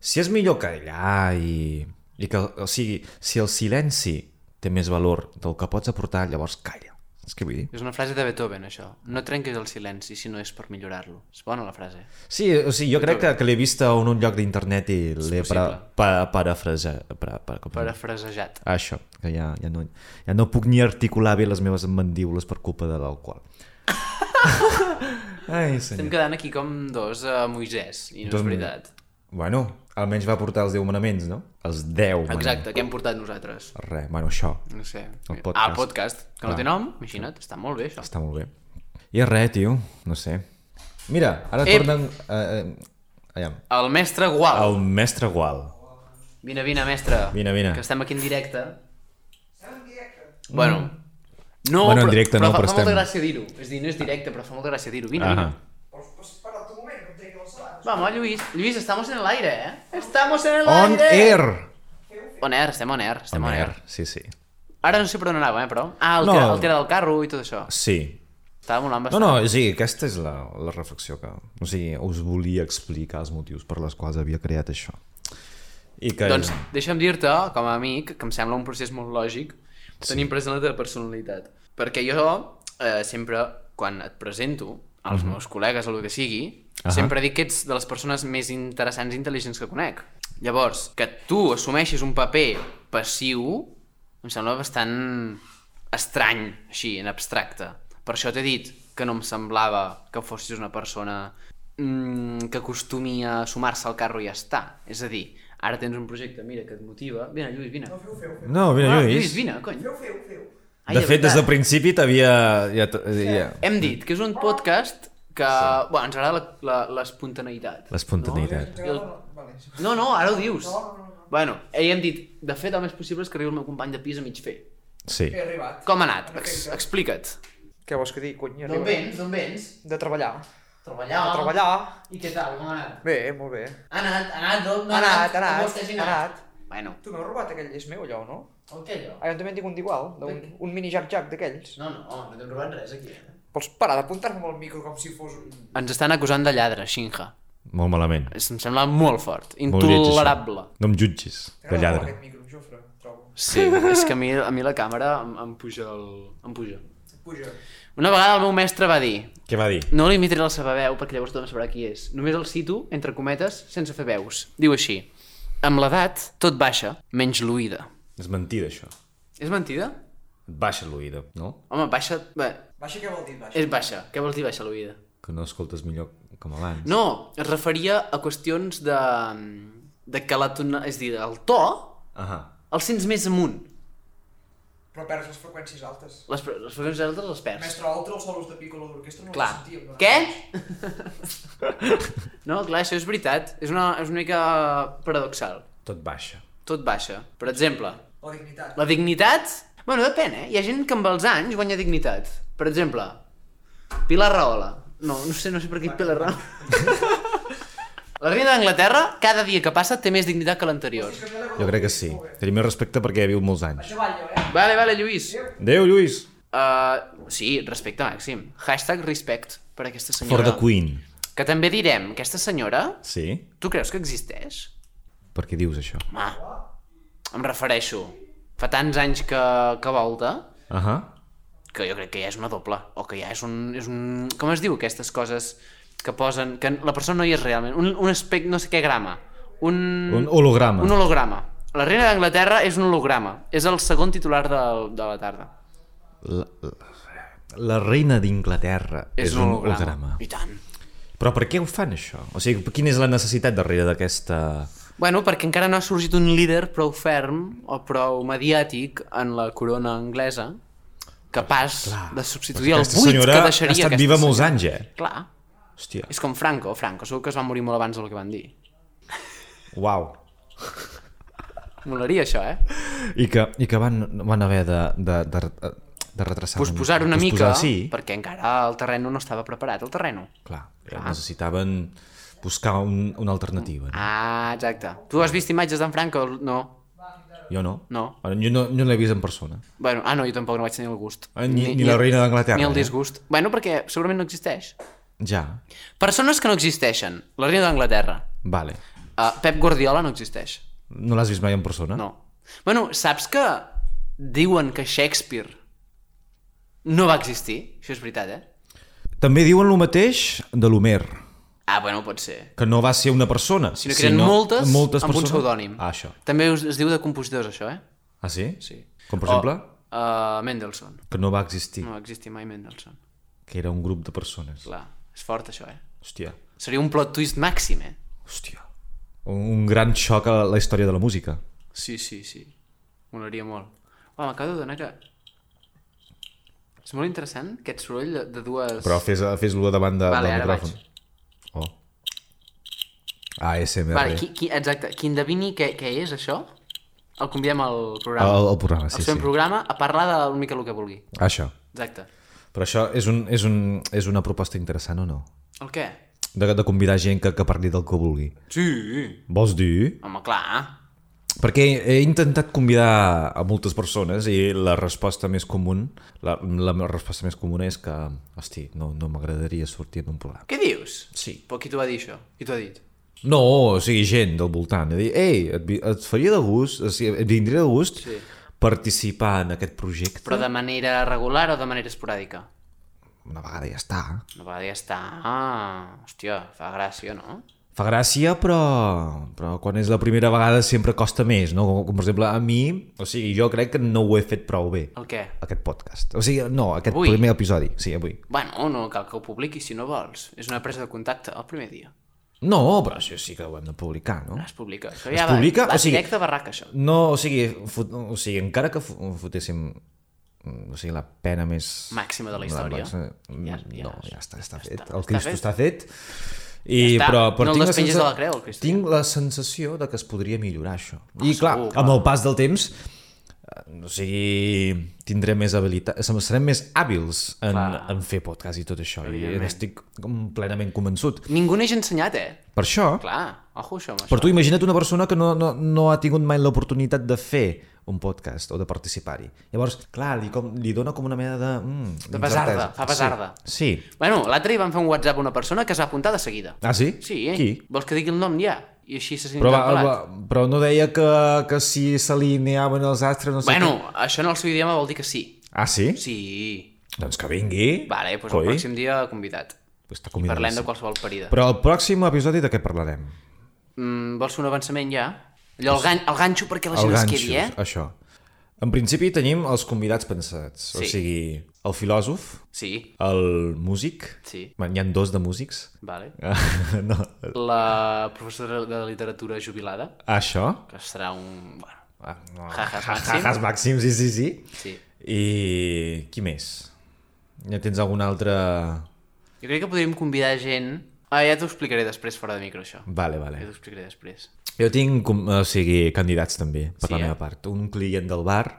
si és millor callar i, i que, o sigui, si el silenci té més valor del que pots aportar, llavors calla. És que vull dir?
És una frase de Beethoven, això. No trenquis el silenci si no és per millorar-lo. És bona la frase.
Sí, o sigui, jo crec que, que l'he vista en un lloc d'internet i l'he para, para, parafrasat. Para, para, com-
Parafrasejat.
Ah, Això, que ja, ja, no, ja no puc ni articular bé les meves mandíbules per culpa de l'alcohol. Ai,
Estem
senyor.
quedant aquí com dos a Moisès, i no
Dos
és veritat.
Bueno, almenys va portar els 10 manaments, no? Els 10 manaments.
Exacte, què hem portat nosaltres?
Re, bueno, això.
No sé.
El
Ah,
podcast. Ah.
el podcast, que no té nom, imagina't, està molt bé això.
Està molt bé. I res, tio, no sé. Mira, ara
Ep!
tornen... Eh, eh, aviam.
El mestre Gual.
El mestre Gual.
Vine, vine, mestre.
Vine, vine.
Que estem aquí en directe. Estem en directe? Bueno. No,
Mm. Bueno, en
però,
directe
però
no,
fa,
però
fa molta
estem-
gràcia dir-ho. És a dir, no és directe, però fa molta gràcia dir-ho. Vine, vine.
Ahà.
Vamos, Lluís. Lluís, estamos en el aire, eh? Estamos en el
On
aire.
air!
On air, estem on air, estem on, air.
sí, sí.
Ara no sé per on anava, eh, però... Ah, el,
No.
no. tira, el tira del carro i tot això.
Sí.
Estava molant
No,
bastant.
no, o sigui, aquesta és la, la reflexió que... O sigui, us volia explicar els motius per les quals havia creat això. I que...
Doncs deixa'm dir-te, com a amic, que em sembla un procés molt lògic tenir present la teva personalitat. Perquè jo eh, sempre, quan et presento als meus col·legues o el que sigui,
Ahà.
sempre dic que ets de les persones més interessants i intel·ligents que conec. Llavors, que tu assumeixis un paper passiu em sembla bastant estrany, així, en abstracte. Per això t'he dit que no em semblava que fossis una persona mm, que acostumi a sumar-se al carro i ja està. És a dir, ara tens un projecte, mira, que et motiva... Vine, Lluís, vine. No,
No, mira,
ah, Lluís,
Lluís.
vine, cony. Ai,
De fet, des del
veritat.
principi t'havia... Ja, t- ja,
Hem dit que és un podcast que... Sí. Bueno, ens agrada la- la- l'espontaneïtat.
L'espontaneïtat.
No? I el- No, no, ara ho dius. No, no, no. Bueno, ell hem dit, de fet, el més possible és que arribi el meu company de pis a mig fer.
Sí.
He arribat.
Com ha anat? Ex Explica't.
Què vols que digui, cony? He
D'on
arribat.
vens? D'on vens?
De treballar.
Ah.
Treballar.
De treballar.
I què tal? Com ha anat?
Bé, molt bé.
Ha anat, ha anat, no? No
Ha anat, ha
Com
anat,
vols que hagi
ha anat.
Bueno,
Tu m'heu robat aquell, és meu allò, no?
El què, allò?
Ah, jo també en tinc un d'igual, d'un un mini jack-jack d'aquells.
No, no, no t'hem robat res aquí. eh?
Pots parar d'apuntar-me amb el micro com si fos un...
ens estan acusant de lladre, Shinja.
Molt malament.
És- Em sembla molt fort,
Molt lleig, això.
intolerable.
No em jutgis, de
T'agrada molt
lladre.
Aquest micro, Jofre, trobo.
Sí, és que a mi, a mi la càmera em, em puja el... em puja.
Puja.
Una vegada el meu mestre va dir
Què va dir?
no li imitaré la seva veu perquè llavors tothom sabrà qui és. Només el cito, entre cometes, sense fer veus. Diu així. Amb l'edat, tot baixa, menys l'oïda.
És mentida, això.
És mentida?
Et baixa l'oïda, no?
Home, baixa... Bé,
Baixa què vol dir, baixa?
és baixa. Què vols dir baixa l'oïda?
Que no escoltes millor com abans.
No, es referia a qüestions de... de que la tona... És a dir, el to
Ahà.
el sents més amunt.
Però perds les freqüències altes.
Les, fre- les freqüències altres les perds.
Mestre Oltra, els solos de pícola d'orquestra no
Clar.
els sentíem. durant
Què?
anys.
No, clar, això és veritat. És una, és una mica paradoxal.
Tot baixa.
Tot baixa. Per exemple,
La dignitat.
la dignitat... Bueno, depèn, eh? Hi ha gent que amb els anys guanya dignitat. Per exemple, Pilar Rahola. No, no sé, no sé per què Pilar Rahola. La reina d'Anglaterra, cada dia que passa, té més dignitat que l'anterior.
Jo crec que sí. Tenim més respecte perquè viu molts anys.
Això ballo, eh?
Vale, vale, Lluís.
Adéu, Lluís!
Uh, sí, respecte, Màxim. Hashtag respect per aquesta
For
senyora.
the Queen.
Que també direm, aquesta senyora,
Sí?
tu creus que existeix?
Per què dius això?
Home, em refereixo. Fa tants anys que, que volta
Ahà.
que jo crec que ja és una doble. O que ja és un... És un com es diu aquestes coses que posen... Que la persona no hi és realment. Un, un aspecte, no sé què grama. Un,
Un holograma.
un holograma. La reina d'Anglaterra és un holograma. És el segon titular de, de la tarda.
La, la, la reina d'Inglaterra és, un holograma.
I tant.
Però per què ho fan, això? O sigui, quina és la necessitat darrere d'aquesta...
Bueno, perquè encara no ha sorgit un líder prou ferm o prou mediàtic en la corona anglesa capaç de substituir el
Aquesta
buit que
senyora ha
deixaria
estat
aquesta
viva molts
senyora.
anys, eh?
Clar.
Hòstia,
És com Franco. Franco segur que es va morir molt abans del que van dir.
uau.
Molaria això, eh?
I que, i que van, van haver de, de, de, de retrasar...
Posposar una mica,
Posposar, sí,
perquè encara el terreno no estava preparat, el terreno.
clar, clar. Necessitaven buscar un, una alternativa. No?
Ah, exacte. Tu has vist imatges d'en Franco? No.
Jo no.
No.
Ara, Jo no, jo no l'he vist en persona.
Bueno, ah, no, jo tampoc no vaig tenir el gust.
Ah, ni- ni la reina d'Anglaterra,
Ni el
eh?
disgust. Bueno, perquè segurament no existeix.
Ja,
Persones que no existeixen. La reina d'Anglaterra.
vale.
Uh, Pep Guardiola no existeix.
No l'has vist mai en persona?
No. Bueno, saps que diuen que Shakespeare no va existir? Això és veritat, eh?
També diuen el mateix de l'Homer,
Ah, bueno, pot ser.
que no va ser una persona.
Sinó que eren moltes, moltes amb un pseudònim.
Ah, això.
També us, es diu de compositors, això, eh?
Ah, sí?
Sí.
Com, per exemple,
Uh, Mendelssohn.
que no va existir,
No va existir mai Mendelssohn.
que era un grup de persones.
Clar, és fort, això, eh?
Hòstia,
Seria un plot twist màxim, eh?
hòstia. Un, un gran xoc a la història de la música.
Sí, sí, sí. Molaria molt. Home, m'acabo d'adonar que... És molt interessant aquest soroll de, de dues...
Però fes- fes-lo fes davant de,
Vale,
del
ara
micròfon. Oh. ASMR.
Vale, qui, qui, exacte, qui endevini què, què és això, el convidem al programa.
el, el programa,
al
sí,
seu
sí.
programa a parlar de una mica el que vulgui.
Això.
Exacte.
Però això és, un, és, un, és una proposta interessant o no?
El què?
De, de convidar gent que, que parli del que vulgui.
Sí.
Vols dir?
Home, clar.
Perquè he intentat convidar a moltes persones i la resposta més comuna, la, la meva resposta més comuna és que, hosti, no, no m'agradaria sortir en un programa.
Què dius?
Sí.
Però qui t'ho va dir això? Qui t'ho ha dit?
No, o sigui, gent del voltant. Dir, Ei, et, vi- et faria de gust, o sigui, et vindria de gust
Sí.
participar en aquest projecte.
Però de manera regular o de manera esporàdica?
Una vegada ja està.
Una vegada ja està... Ah, hòstia, fa gràcia, no?
Fa gràcia, però, però quan és la primera vegada sempre costa més, no? Com, com per exemple, a mi, o sigui, jo crec que no ho he fet prou bé,
El què?
aquest podcast. O sigui, no, aquest
Avui?
primer episodi. Sí, avui.
Bueno, no cal que ho publiquis si no vols. És una presa de contacte el primer dia.
No, però això sí que ho hem de publicar, no?
Es publica. Això
Es
ja va,
publica?
va
O sigui-
directe a barraca, això.
No, o sigui, fot, o sigui encara que fo- fotéssim mm, o sigui, la pena més...
Màxima de la història. Ja- ja-
no, ja està, està fet.
està-
el
està
Cristo
fet.
està fet. I,
Ja està.
Però, però
No el
tinc la
despengis
sensa-
de la creu, el Cristo. Ah,
Tinc la sensació de que es podria millorar això. I clar,
segur,
amb el pas del temps eh, o sigui, tindrem més habilitat, som- serem més hàbils en,
Clar.
en fer podcast i tot això, i n'estic com plenament convençut.
Ningú n'eix ensenyat, eh?
Per això,
Clar, ojo això amb això.
però tu imagina't una persona que no, no, no ha tingut mai l'oportunitat de fer un podcast o de participar-hi. Llavors, clar, li, com, li dona com una mena de... Mm,
De basarda,
incertesa.
fa basarda.
Sí. sí.
Bueno, l'altre dia vam fer un WhatsApp a una persona que es va apuntar de seguida.
Ah, sí?
Sí, eh?
Qui?
Vols que digui el nom ja? I així se
Però,
sentirà
va, va,
parlat.
però no deia que, que si s'alineaven els astres... No sé
Bueno,
Què.
això en el seu idioma vol dir que sí.
Ah, sí?
Sí.
Doncs que vingui.
Vale, doncs
Coi.
el pròxim dia convidat.
Està
Parlem de
convidat.
qualsevol parida.
Però al pròxim episodi de què parlarem?
Mm, vols fer un avançament ja? Allò, el, gan el ganxo perquè la gent es quedi, eh?
això. En principi tenim els convidats pensats, o
Sí.
sigui, el filòsof,
Sí,
el músic,
sí.
Bé, n'hi ha dos de músics,
Vale.
no,
La professora de literatura jubilada,
això,
que serà un... Bueno,
Ah, no.
Jajas
Ja-
Màxim.
Jajas Màxim, sí, sí, sí.
sí.
I qui més? Ja tens algun altre...
Jo crec que podríem convidar gent... Ah, ja t'ho explicaré després fora de micro, això.
Vale,
Ja
vale.
t'ho explicaré després.
Jo tinc, com- o sigui, candidats també, per
Sí,
sí, la
eh?
meva part. Un client del bar,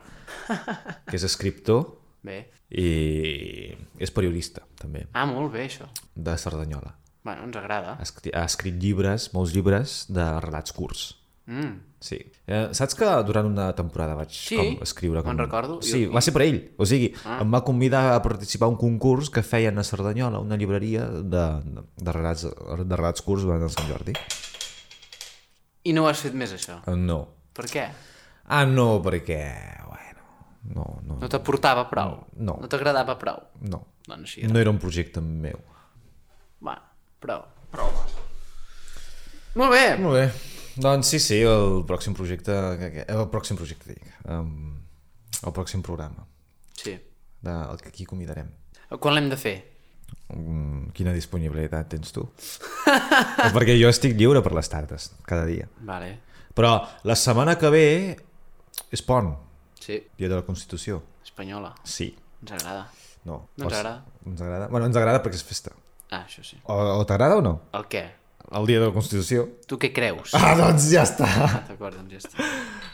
que és escriptor
Bé.
i és periodista, també,
Ah, molt bé, això.
de Cerdanyola.
Bueno, ens agrada.
Ha escri- ha escrit llibres, molts llibres, de relats curts.
Mm.
Sí. Eh, saps que durant una temporada vaig
Sí,
com escriure... Com...
me'n recordo.
Sí,
Jo-
va ser per ell. O sigui, ah. em va convidar a participar a un concurs que feien a Cerdanyola, una llibreria de, de, de, relats, de relats curts durant el Sant Jordi.
I no ho has fet més, això.
Eh, No.
Per què?
Ah, no, perquè... Bueno, no, no,
No t'aportava prou?
No. Mm.
No t'agradava prou?
no.
Doncs sí.
No era un projecte meu.
Va, prou. Prou. Molt bé.
Molt bé. Doncs sí, sí, el pròxim projecte... que- que- El pròxim projecte, dic. Um, el pròxim programa.
Sí.
De, el que aquí convidarem.
Quan l'hem de fer?
Mm, quina disponibilitat tens tu? És perquè jo estic lliure per les tardes, cada dia.
Vale.
Però la setmana que ve és pont,
Sí.
dia de la Constitució.
Espanyola.
Sí.
Ens agrada.
No.
No ens
O s-
agrada.
Ens agrada? Bueno, ens agrada perquè és festa.
Ah, això sí.
O, o t'agrada o no?
El què?
El dia de la Constitució.
Tu què creus?
Ah, doncs ja està.
Ah, D'acord, doncs ja està.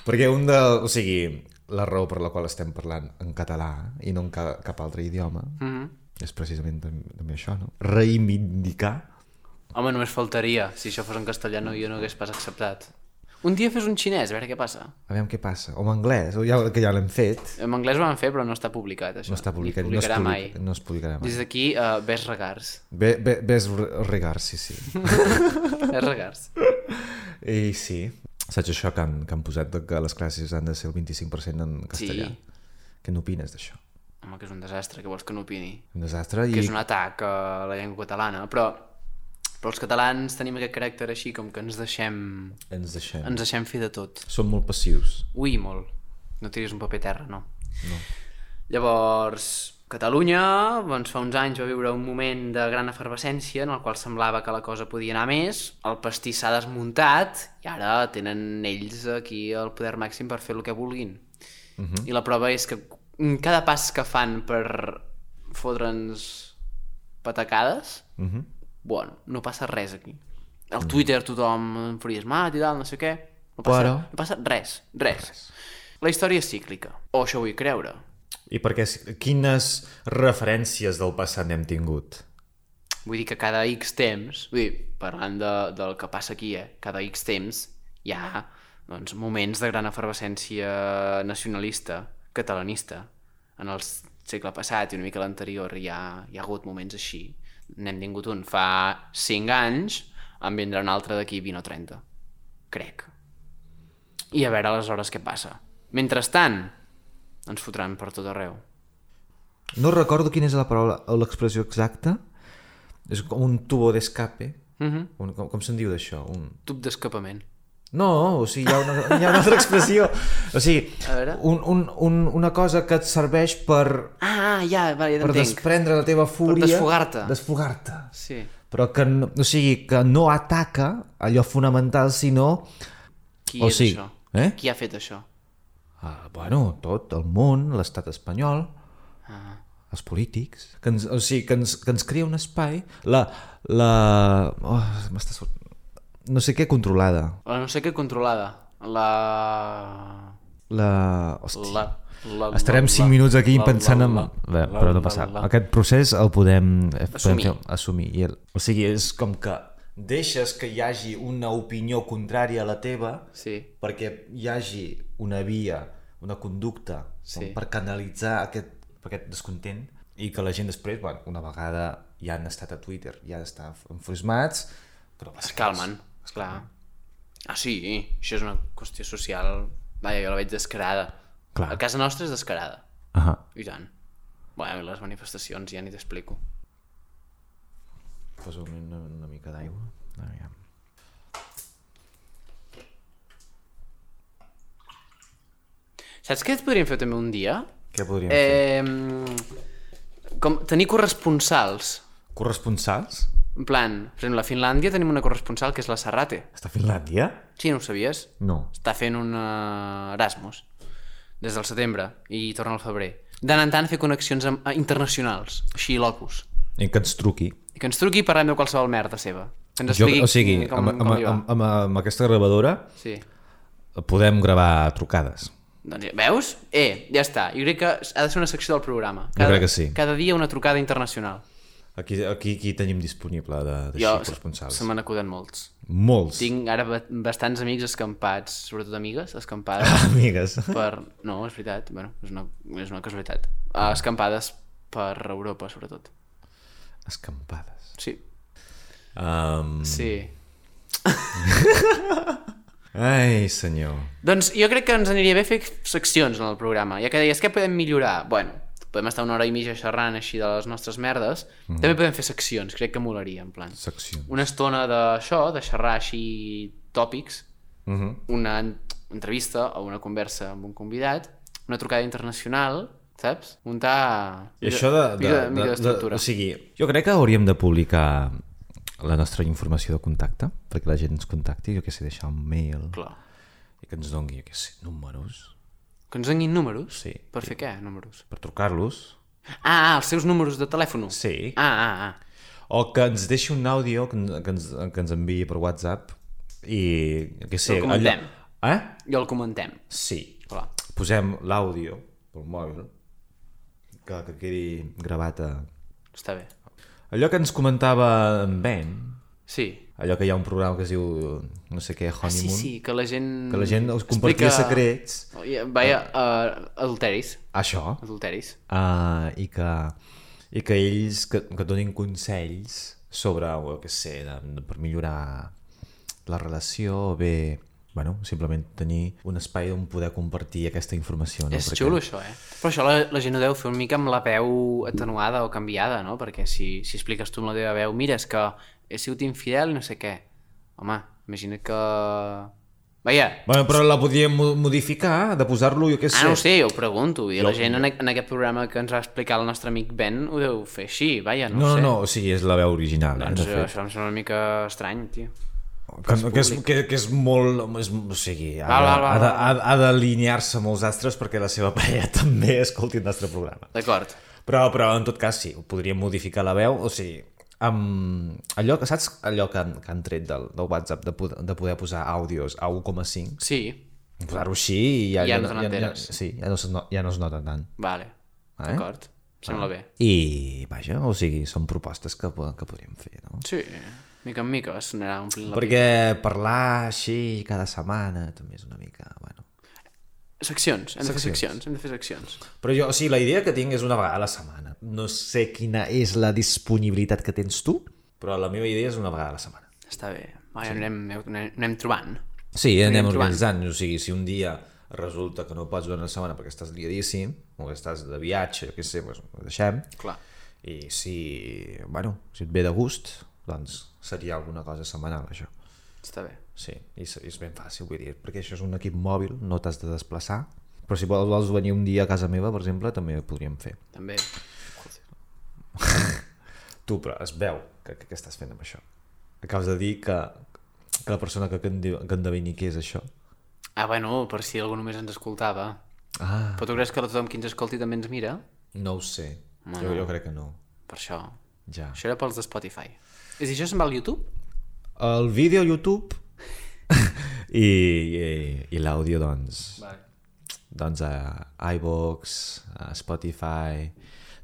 Perquè un de... O sigui, la raó per la qual estem parlant en català i no en ca cap altre idioma
Mm -hmm.
és precisament tam- també això, no? Reivindicar.
Home, només faltaria. Si això fos en castellà no, jo no hagués pas acceptat. Un dia fes un xinès, a veure què passa.
A veure què passa. O en anglès, o ja, que ja l'hem fet.
En anglès ho van fer, però no està publicat, això.
No està publicat,
Ni
no es,
publicarà mai.
publica, no es publicarà mai.
Des d'aquí, uh, ves regars.
Ve, ve, ves re- regar, sí, sí.
Ves regars.
I sí, saps això que han, que han posat de que les classes han de ser el 25% en castellà?
Sí.
Què n'opines d'això?
Home, que és un desastre, que vols que no opini?
Un desastre
que
i...
és un atac a la llengua catalana, però, però els catalans tenim aquest caràcter així, com que ens deixem,
Ens deixem.
ens deixem fer de tot.
Som molt passius.
Ui, molt. No tiris un paper a terra, no. no. Llavors, Catalunya, doncs fa uns anys va viure un moment de gran efervescència en el qual semblava que la cosa podia anar més, el pastís s'ha desmuntat i ara tenen ells aquí el poder màxim per fer el que vulguin. Uh -huh. I la prova és que cada pas que fan per fotre'ns patacades,
Uh -huh.
bueno, no passa res aquí. Al Twitter tothom enfurismat i tal, no sé què. No passa,
Però-
no passa res, res, La història és cíclica, o això vull creure.
I per què... Quines referències del passat n'hem tingut?
Vull dir que cada X temps, vull dir, parlant de, del que passa aquí, eh, cada X temps hi ha doncs, moments de gran efervescència nacionalista, catalanista. En el segle passat i una mica l'anterior hi, ha, hi ha hagut moments així. N'hem tingut un fa 5 anys, en vindrà un altre d'aquí 20 o 30. Crec. I a veure aleshores què passa. Mentrestant, ens fotran per tot arreu.
No recordo quina és la paraula o l'expressió exacta. És com un tubo d'escape.
Mhm. Mm
Un- Com, com se'n diu d'això? Un...
Tub d'escapament.
No, o sigui, hi ha una, hi ha una altra expressió. O sigui,
A veure.
un, un, un, una cosa que et serveix per
Ah, ja, va, ja
per
t'entenc.
desprendre la teva fúria...
desfogar-te.
Desfogar-te.
Sí.
Però que no, o sigui, que no ataca allò fonamental, sinó...
Qui
O
és
sigui,
això?
eh?
Qui ha fet això?
Ah, bueno, tot el món, l'estat espanyol,
Ah.
els polítics... Que ens, o sigui, que ens, que ens crea un espai... La... la oh, m'està sort... No sé què controlada.
La no sé què controlada. La...
la... Hosti,
La, la,
Estarem 5 minuts aquí pensant en... Bé, però no passa. Aquest procés el podem, eh, podem
Assumir.
fer, assumir. I el... O sigui, és com que deixes que hi hagi una opinió contrària a la teva
Sí.
perquè hi hagi una via, una conducta
Sí.
sí. per canalitzar aquest, aquest descontent i que la gent després, bueno, una vegada ja han estat a Twitter, ja estan enfrismats, però
Es calmen, esclar. Ah, sí, això és una qüestió social... Vaja, jo la veig descarada.
Clar.
A casa nostra és descarada,
Uh -huh.
i tant. Bé, a mi les manifestacions ja ni t'explico.
Poso una, una mica d'aigua. Aviam.
Saps què podríem fer també un dia?
Què podríem eh...
Eh, mm, com tenir corresponsals.
fer? Corresponsals?
En plan, per exemple, a Finlàndia tenim una corresponsal que és la Serrate.
Està a Finlàndia?
Sí, no ho sabies?
No.
Està fent un eh, Erasmus des del setembre i torna al febrer. De tant en tant fer connexions amb, eh, internacionals, així locus.
I que ens truqui.
I que ens truqui i parlem de qualsevol merda seva. Que ens
Jo,
expliqui
o sigui,
quin- com,
amb,
com
amb,
li va.
amb, amb, amb aquesta gravadora
Sí.
podem gravar trucades.
Doncs, ja- veus? Eh, ja està. Jo crec que ha de ser una secció del programa.
crec que sí.
Cada dia una trucada internacional.
Aquí, aquí, aquí tenim disponible de, de
Jo,
corresponsals.
se me n'acuden molts.
Molts.
Tinc ara ba- bastants amics escampats, sobretot amigues escampades
Amigues.
per... No, és veritat, bueno, és una, és una casualitat. Eh, Escampades per Europa, sobretot.
Escampades.
Sí,
Um...
sí.
Ai, senyor.
Doncs jo crec que ens aniria bé fer seccions en el programa, ja que deies que podem millorar. Bueno, podem estar una hora i mitja xerrant així de les nostres merdes.
Mhm.
Mm. També podem fer seccions, crec que molaria, en plan.
Secció.
Una estona d'això, de xerrar així tòpics,
Uh -huh.
una en- entrevista o una conversa amb un convidat, una trucada internacional, saps? Muntar...
I això de, de,
mica,
de,
mica
de, de,
d'estructura.
o sigui, jo crec que hauríem de publicar la nostra informació de contacte perquè la gent ens contacti, jo què sé, deixar un mail
Clar.
i que ens dongui, jo què sé, números
Que ens donin números?
Sí.
Per fer què, números?
per trucar-los
Ah, ah, els seus números de telèfon.
Sí.
Ah, ah, ah.
o que ens deixi un àudio que, en- que, ens, que ens enviï per WhatsApp i jo què sé,
El comentem.
Eh?
I el comentem.
Sí.
Clar.
Posem l'àudio pel mòbil que, que quedi gravat a...
Està bé.
Allò que ens comentava en Ben,
Sí.
allò que hi ha un programa que es diu no sé què,
Ah, sí,
Honeymoon,
sí, que la gent...
que la gent us compartia
explica-
secrets,
Vaja, uh, adulteris.
això,
Adulteris.
uh, i, que, i que ells que, que donin consells sobre, o què sé, de, de, per millorar la relació, o bé, bueno, simplement tenir un espai on poder compartir aquesta informació. No?
És xulo, això, eh? Però això la, la gent ho deu fer una mica amb la veu atenuada o canviada, no? Perquè si, si expliques tu amb la teva veu, mira, és que he sigut infidel i no sé què. Home, imagina't que... Vaja,
Bueno, però la podíem mo- modificar, de posar-lo, jo què sé.
ah, no ho sé, jo ho pregunto. I la gent en, a- en aquest programa que ens va explicar el nostre amic Ben ho deu fer així, vaja, no,
No,
ho
no,
sé.
no, o sigui, és la veu original, eh,
Doncs
de
això,
fet.
això em sembla una mica estrany, tio.
Que, que, és, que, que és molt... És, o sigui, ha,
Val,
de-
val, val,
ha, de-
val.
ha, de- ha d'alinear-se molts astres perquè la seva parella també escolti el nostre programa.
D'acord.
Però, però en tot cas, sí, ho podríem modificar la veu, o sigui, amb allò que saps allò que han, que han tret del, del WhatsApp de, poder, de poder posar àudios a 1,5
Sí,
posar-ho així i ja,
Ja no te
ja, ja,
n'enteres.
sí, ja, no se, no, ja no es nota tant
vale.
Eh?
D'acord. Em Sembla bé.
i vaja, o sigui, són propostes que, po- que podríem fer no?
Sí, mica en mica s'anirà omplint la
perquè parlar així cada setmana també és una mica bueno,
Seccions, hem de fer
Seccions.
seccions, hem de fer seccions.
Però jo, o sigui, la idea que tinc és una vegada a la setmana. No sé quina és la disponibilitat que tens tu, però la meva idea és una vegada a la setmana.
Està bé. Vaja, sí. anem, anem, anem trobant.
Sí, anem
trobant.
organitzant. O sigui, si un dia resulta que no pots durant la setmana perquè estàs liadíssim, o que estàs de viatge, jo què sé, doncs ho deixem.
Clar.
I si, bueno, si et ve de gust, doncs seria alguna cosa setmanal, això.
Està bé.
Sí, i és, és ben fàcil, vull dir, perquè això és un equip mòbil, no t'has de desplaçar. Però si vols, vols venir un dia a casa meva, per exemple, també ho podríem fer.
També.
Tu, però es veu que, que, que estàs fent amb això. Acabes de dir que, que la persona que, que, ende- que endevini què és això.
Ah, bueno, per si algú només ens escoltava.
Ah,
Però tu creus que tothom qui ens escolti també ens mira?
no ho sé. Jo, jo crec que no.
Per això.
Ja.
Això era pels de Spotify. És a dir, això se'n va al YouTube?
El vídeo a YouTube i, i, i l'àudio, doncs,
Vale.
doncs, a iVoox, a Spotify...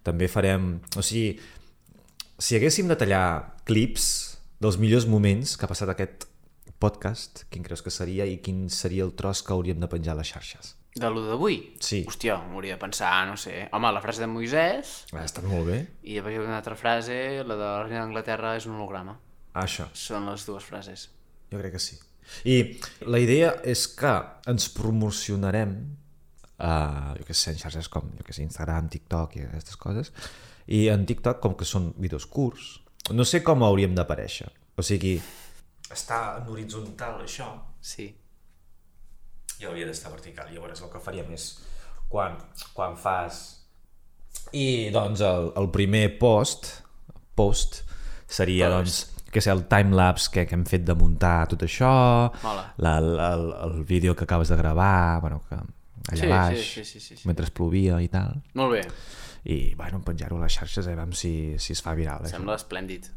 També farem... O sigui, si haguéssim de tallar clips dels millors moments que ha passat aquest podcast, quin creus que seria i quin seria el tros que hauríem de penjar a les xarxes?
De lo d'avui?
Sí.
Hòstia, m'hauria de pensar, no sé... Home, la frase de Moisès...
Ha estat molt bé.
I després hi ha una altra frase, la de la reina d'Anglaterra és un holograma.
Ah, això.
Són les dues frases.
Jo crec que sí. I la idea és que ens promocionarem a, jo què sé, en xarxes com jo que sé, Instagram, TikTok i aquestes coses, i en TikTok, com que són vídeos curts, no sé com hauríem d'aparèixer. O sigui, està en horitzontal, això,
Sí.
i hauria d'estar vertical. Llavors, el que faríem és, quan, quan fas... I, doncs, el, el primer post, post seria, post. doncs, que sé, el timelapse que, que hem fet de muntar tot això,
Mola.
la, la, el, el vídeo que acabes de gravar, bueno, que allà
Sí,
baix,
sí, sí, sí, sí, sí.
mentre plovia i tal.
Molt bé,
I, bueno, penjar-ho a les xarxes, a veure si, si es fa viral. Això.
sembla esplèndid.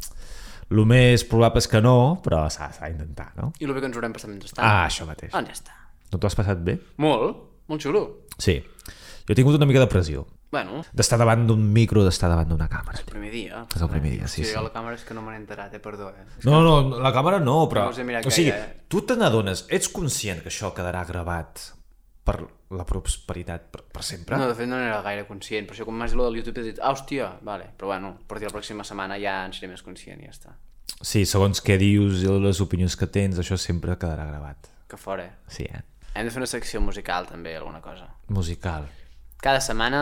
El més probable és que no, però s'ha s'ha d'intentar, no?
I el bé que ens haurem passat mentrestant.
Ah, això mateix.
On està?
No t'ho has passat bé?
Molt, molt xulo.
Sí. Jo he tingut una mica de pressió.
Bueno,
D'estar davant d'un micro, d'estar davant d'una càmera.
el primer dia.
És el primer dia, sí,
Hòstia,
sí.
Jo a la càmera és que no me n'he enterat, eh? Perdó, eh?
No, no, la càmera no, però...
No us he mirat
o sigui,
gaire, eh?
tu te n'adones, ets conscient que això quedarà gravat per la prosperitat per, per sempre?
No, de fet no n'era gaire conscient, per això quan m'has dit allò del YouTube he dit, ah, hòstia, vale, però bueno, a partir de la pròxima setmana ja en seré més conscient i ja està.
Sí, segons què dius i les opinions que tens, això sempre quedarà gravat.
Que fora, eh?
Sí, eh?
Hem de fer una secció musical també, alguna cosa.
Musical.
Cada setmana...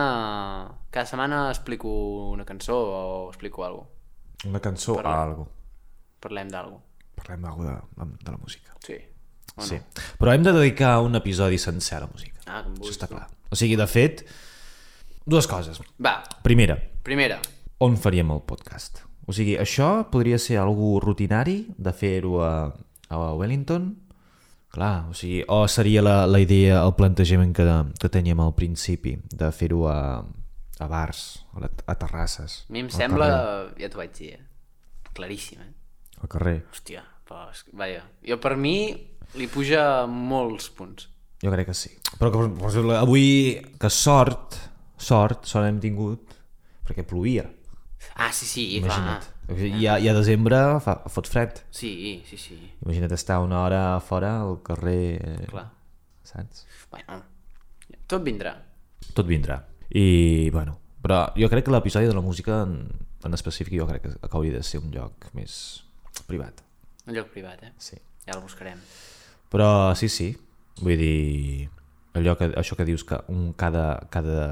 Cada setmana explico una cançó o explico alguna cosa.
Una cançó o algo.
Parlem d'alguna
Parlem d'algo de, de la música.
Sí. O no?
Sí. Però hem de dedicar un episodi sencer a la música.
Ah, com
Això
vulguis.
està clar. O sigui, de fet, dues coses.
Va,
Primera,
primera.
on faríem el podcast? O sigui, això podria ser algú rutinari de fer-ho a, a Wellington? Clar, o sigui, o seria la, la idea, el plantejament que, que teníem al principi, de fer-ho a, a bars, a, la, a terrasses.
A mi em
al
sembla... Ja t'ho vaig dir, eh? Claríssim, eh?
Carrer, al carrer.
Hòstia, però... És... que, Vaja. Jo per mi li puja molts punts.
Jo crec que sí. Però que, per exemple, avui, que sort, sort, sort hem tingut, perquè plovia.
Ah, sí, sí,
Imagina't.
clar.
O sigui, I a, i a desembre fa, fot fred.
Sí, sí, sí.
Imagina't estar una hora fora al carrer... eh,
Clar.
Saps?
Bueno, tot vindrà.
Tot vindrà. I, bueno, però jo crec que l'episodi de la música en, en específic jo crec que, que hauria de ser un lloc més privat.
Un lloc privat, eh?
Sí.
Ja el buscarem.
Però sí, sí. Vull dir, allò que, això que dius que un cada, cada,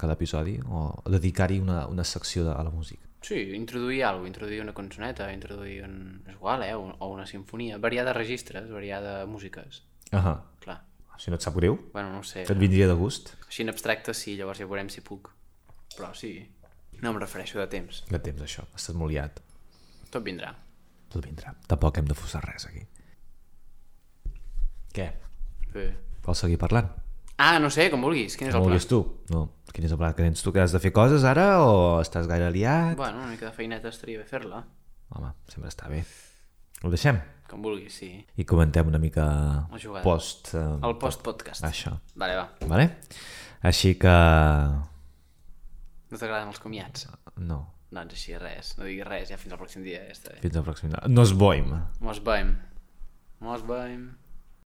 cada episodi o dedicar-hi una, una secció de, a la música.
Sí, introduir alguna cosa, introduir una cançoneta, introduir un... És igual, eh? O o una sinfonia. Variar de registres, variar de músiques.
Ahà.
Clar.
Si no et sap greu,
Bueno, no ho sé.
et vindria de gust.
Així en abstracte sí, llavors ja veurem si puc. Però sí, no em refereixo de temps.
Que temps, això. Estàs molt liat.
Tot vindrà.
Tot vindrà. Tampoc hem de forçar res aquí. Què?
Bé.
Vols seguir parlant?
Ah, no sé, com vulguis. Quin és
Com
el pla?
vulguis tu? No. Quin és el pla que tens tu? Que has de fer coses ara o estàs gaire liat?
Bueno, una mica de feineta estaria bé fer-la.
Home, sempre està bé. Ho deixem
Com vulguis, sí.
i comentem una mica
La jugada.
post eh,
El post-podcast.
això.
Vale, va.
Vale? Així que...
No t'agraden els comiats?
No.
Doncs així, res. No diguis res, ja fins al pròxim dia. Ja està bé.
Fins al pròxim. No es boim.
Mos veiem. Mos veiem.